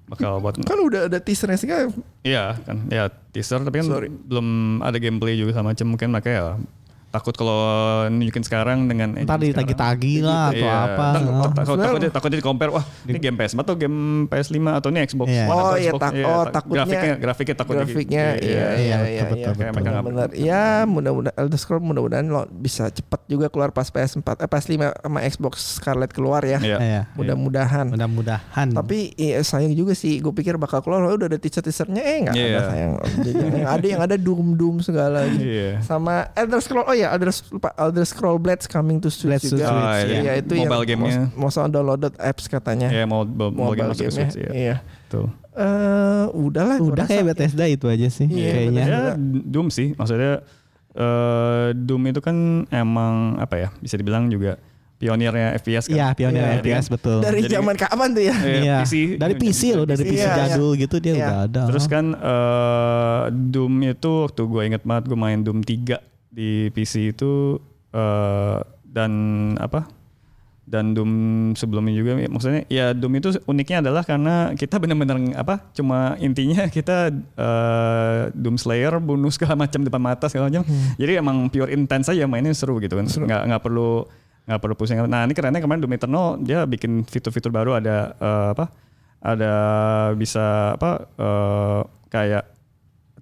Speaker 3: bakal buat
Speaker 2: Kan udah ada teasernya sih kan.
Speaker 3: iya kan ya teaser tapi kan
Speaker 2: Sorry.
Speaker 3: belum ada gameplay juga sama macam mungkin makanya ya takut kalau nunjukin sekarang dengan engine
Speaker 4: Ntar
Speaker 3: sekarang.
Speaker 4: ditagi-tagi lah atau
Speaker 3: Iya,
Speaker 4: apa. Oh.
Speaker 3: tak-
Speaker 4: Heeh.
Speaker 3: tak- takut-
Speaker 2: Sebenarnya-
Speaker 3: takutnya takutnya di compare wah ini game PS4 atau game PS5 atau ini Xbox One
Speaker 4: Iya.
Speaker 3: atau
Speaker 2: Oh iya
Speaker 3: Xbox.
Speaker 2: tak oh
Speaker 3: tak-
Speaker 2: takutnya
Speaker 3: grafiknya grafiknya gitu. takut di-
Speaker 2: grafiknya iya iya
Speaker 4: iya,
Speaker 2: iya
Speaker 4: betul,
Speaker 2: iya.
Speaker 4: betul,
Speaker 3: Kayak
Speaker 4: betul.
Speaker 3: mereka nggak-
Speaker 2: benar ya mudah-mudahan Elder Scroll mudah-mudahan lo bisa cepat juga keluar pas PS4 eh pas 5 sama Xbox Scarlet keluar ya
Speaker 3: Iya.
Speaker 4: Iya.
Speaker 2: mudah-mudahan
Speaker 4: Mudah-mudahan.
Speaker 2: tapi iya, sayang juga sih gue pikir bakal keluar oh, udah ada teaser teasernya eh nggak
Speaker 3: Iya.
Speaker 2: ada sayang Jadi yang ada yang ada doom doom segala gitu
Speaker 3: Iya.
Speaker 2: sama Elder Scroll oh ya Elder lupa Elder Scroll Blades coming to Switch
Speaker 4: Blades to
Speaker 2: juga
Speaker 4: Switch,
Speaker 2: iya
Speaker 3: iya.
Speaker 2: itu
Speaker 3: Mobile
Speaker 2: yang
Speaker 3: gamenya.
Speaker 2: most, most downloaded apps katanya
Speaker 3: Iya, mau mau mau
Speaker 2: mobile
Speaker 3: game masuk ke
Speaker 2: gamenya
Speaker 3: Switch ya.
Speaker 2: iya
Speaker 3: Betul.
Speaker 2: eh udahlah gua
Speaker 4: udah
Speaker 2: rasa.
Speaker 4: kayak Bethesda itu aja sih
Speaker 2: Iya,
Speaker 4: kayaknya.
Speaker 3: Ya Doom sih, maksudnya eh, Doom itu kan emang apa ya? Bisa dibilang juga pionirnya FPS kan.
Speaker 4: Iya, pionir
Speaker 2: Iya,
Speaker 4: FPS betul.
Speaker 2: dari
Speaker 3: Jadi-
Speaker 2: zaman kapan tuh ya
Speaker 3: Eh,
Speaker 4: Iya.
Speaker 3: PC.
Speaker 4: Dari PC loh, dari
Speaker 2: PC.
Speaker 4: PC
Speaker 2: Iya,
Speaker 4: jadul gitu dia
Speaker 2: Iya.
Speaker 4: udah ada.
Speaker 3: Terus kan eh, Doom itu waktu gue inget banget gue main Doom 3 di PC itu eh, dan apa? dan Doom sebelumnya juga ya, maksudnya ya Doom itu uniknya adalah karena kita benar-benar apa cuma intinya kita eh, Doom Slayer bunuh segala macam depan mata segala macam jadi emang pure intense aja mainnya seru gitu kan nggak nggak perlu nggak perlu pusing nah ini kerennya kemarin Doom Eternal dia bikin fitur-fitur baru ada eh, apa ada bisa apa eh, kayak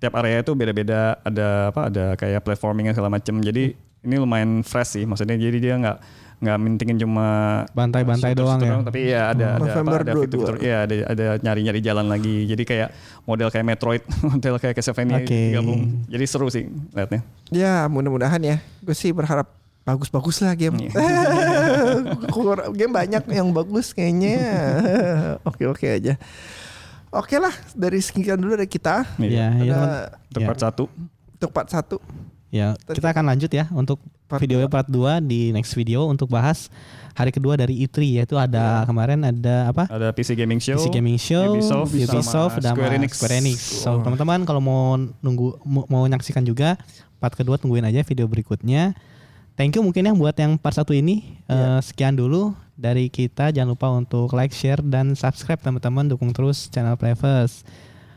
Speaker 3: tiap area itu beda-beda ada apa ada kayak platformingnya segala macem jadi ini lumayan fresh sih maksudnya jadi dia nggak nggak mintingin cuma
Speaker 4: Bantai-bantai
Speaker 3: shooter-shooter
Speaker 4: doang ya?
Speaker 3: doang, tapi ya ada ada
Speaker 2: November
Speaker 3: ada
Speaker 2: 22.
Speaker 3: fitur-fitur ya ada ada nyari-nyari jalan lagi jadi kayak model kayak Metroid model kayak Castlevania
Speaker 4: Oke.
Speaker 3: digabung jadi seru sih liatnya
Speaker 2: Ya mudah-mudahan ya. Gue sih berharap bagus-bagus lah game.
Speaker 3: Iya.
Speaker 2: Kur- game banyak yang bagus kayaknya. Oke-oke aja. Oke lah dari sekian dulu dari kita.
Speaker 4: Iya,
Speaker 3: Iya.
Speaker 4: iya,
Speaker 2: Ada
Speaker 4: teman.
Speaker 3: untuk
Speaker 4: Iya.
Speaker 3: part satu
Speaker 2: untuk part 1
Speaker 4: Ya, kita akan lanjut ya untuk
Speaker 2: Part
Speaker 4: video part 2 di next video untuk bahas hari kedua dari E3 yaitu ada kemarin ada apa?
Speaker 3: ada PC gaming Iya. show
Speaker 4: PC Gaming Show,
Speaker 3: Ubisoft,
Speaker 4: Ubisoft,
Speaker 3: sama
Speaker 4: dan
Speaker 3: Square Enix.
Speaker 4: Square Enix. So, teman-teman kalau mau nunggu mau mau nyaksikan juga part kedua tungguin aja video berikutnya. Thank you mungkin ya buat yang part satu ini. Eh,
Speaker 3: Iya.
Speaker 4: sekian dulu dari kita. Jangan lupa untuk like, share dan subscribe teman-teman. Dukung terus channel Playverse.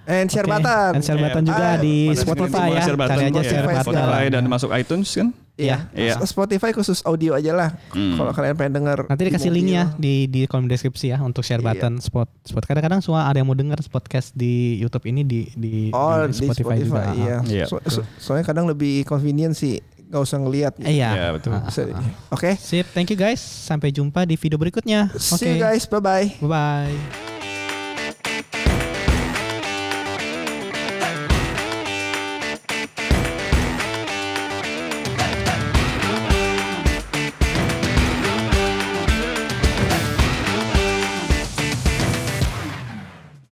Speaker 2: and share
Speaker 4: Oke,
Speaker 2: button.
Speaker 4: dan share button
Speaker 3: Iya.
Speaker 4: juga
Speaker 2: Ah,
Speaker 4: di
Speaker 3: Pada
Speaker 4: Spotify
Speaker 3: semua
Speaker 4: ya.
Speaker 3: share button,
Speaker 4: Cari aja
Speaker 3: iya,
Speaker 4: share
Speaker 2: Spotify
Speaker 4: button.
Speaker 3: Spotify dan masuk iTunes kan
Speaker 2: Iya.
Speaker 3: Iya.
Speaker 2: Spotify khusus audio aja lah. Kalau kalian pengen denger
Speaker 4: Nanti
Speaker 2: di
Speaker 4: dikasih
Speaker 2: mobil.
Speaker 4: linknya di di kolom deskripsi ya untuk share
Speaker 2: Iya.
Speaker 4: button spot spot. Kadang-kadang suka ada yang mau dengar podcast di YouTube ini di di,
Speaker 2: Oh,
Speaker 4: di Ah,
Speaker 2: di Spotify, iya.
Speaker 3: Iya,
Speaker 2: So- so- soalnya kadang lebih convenient sih, nggak usah ngelihat.
Speaker 4: Ah, Iya.
Speaker 3: Iya, betul.
Speaker 4: Ah, ah,
Speaker 2: Bisa-
Speaker 4: ah.
Speaker 2: Oke.
Speaker 4: Sip, thank you guys. Sampai jumpa di video berikutnya.
Speaker 2: See you guys. Bye bye.
Speaker 4: Bye bye.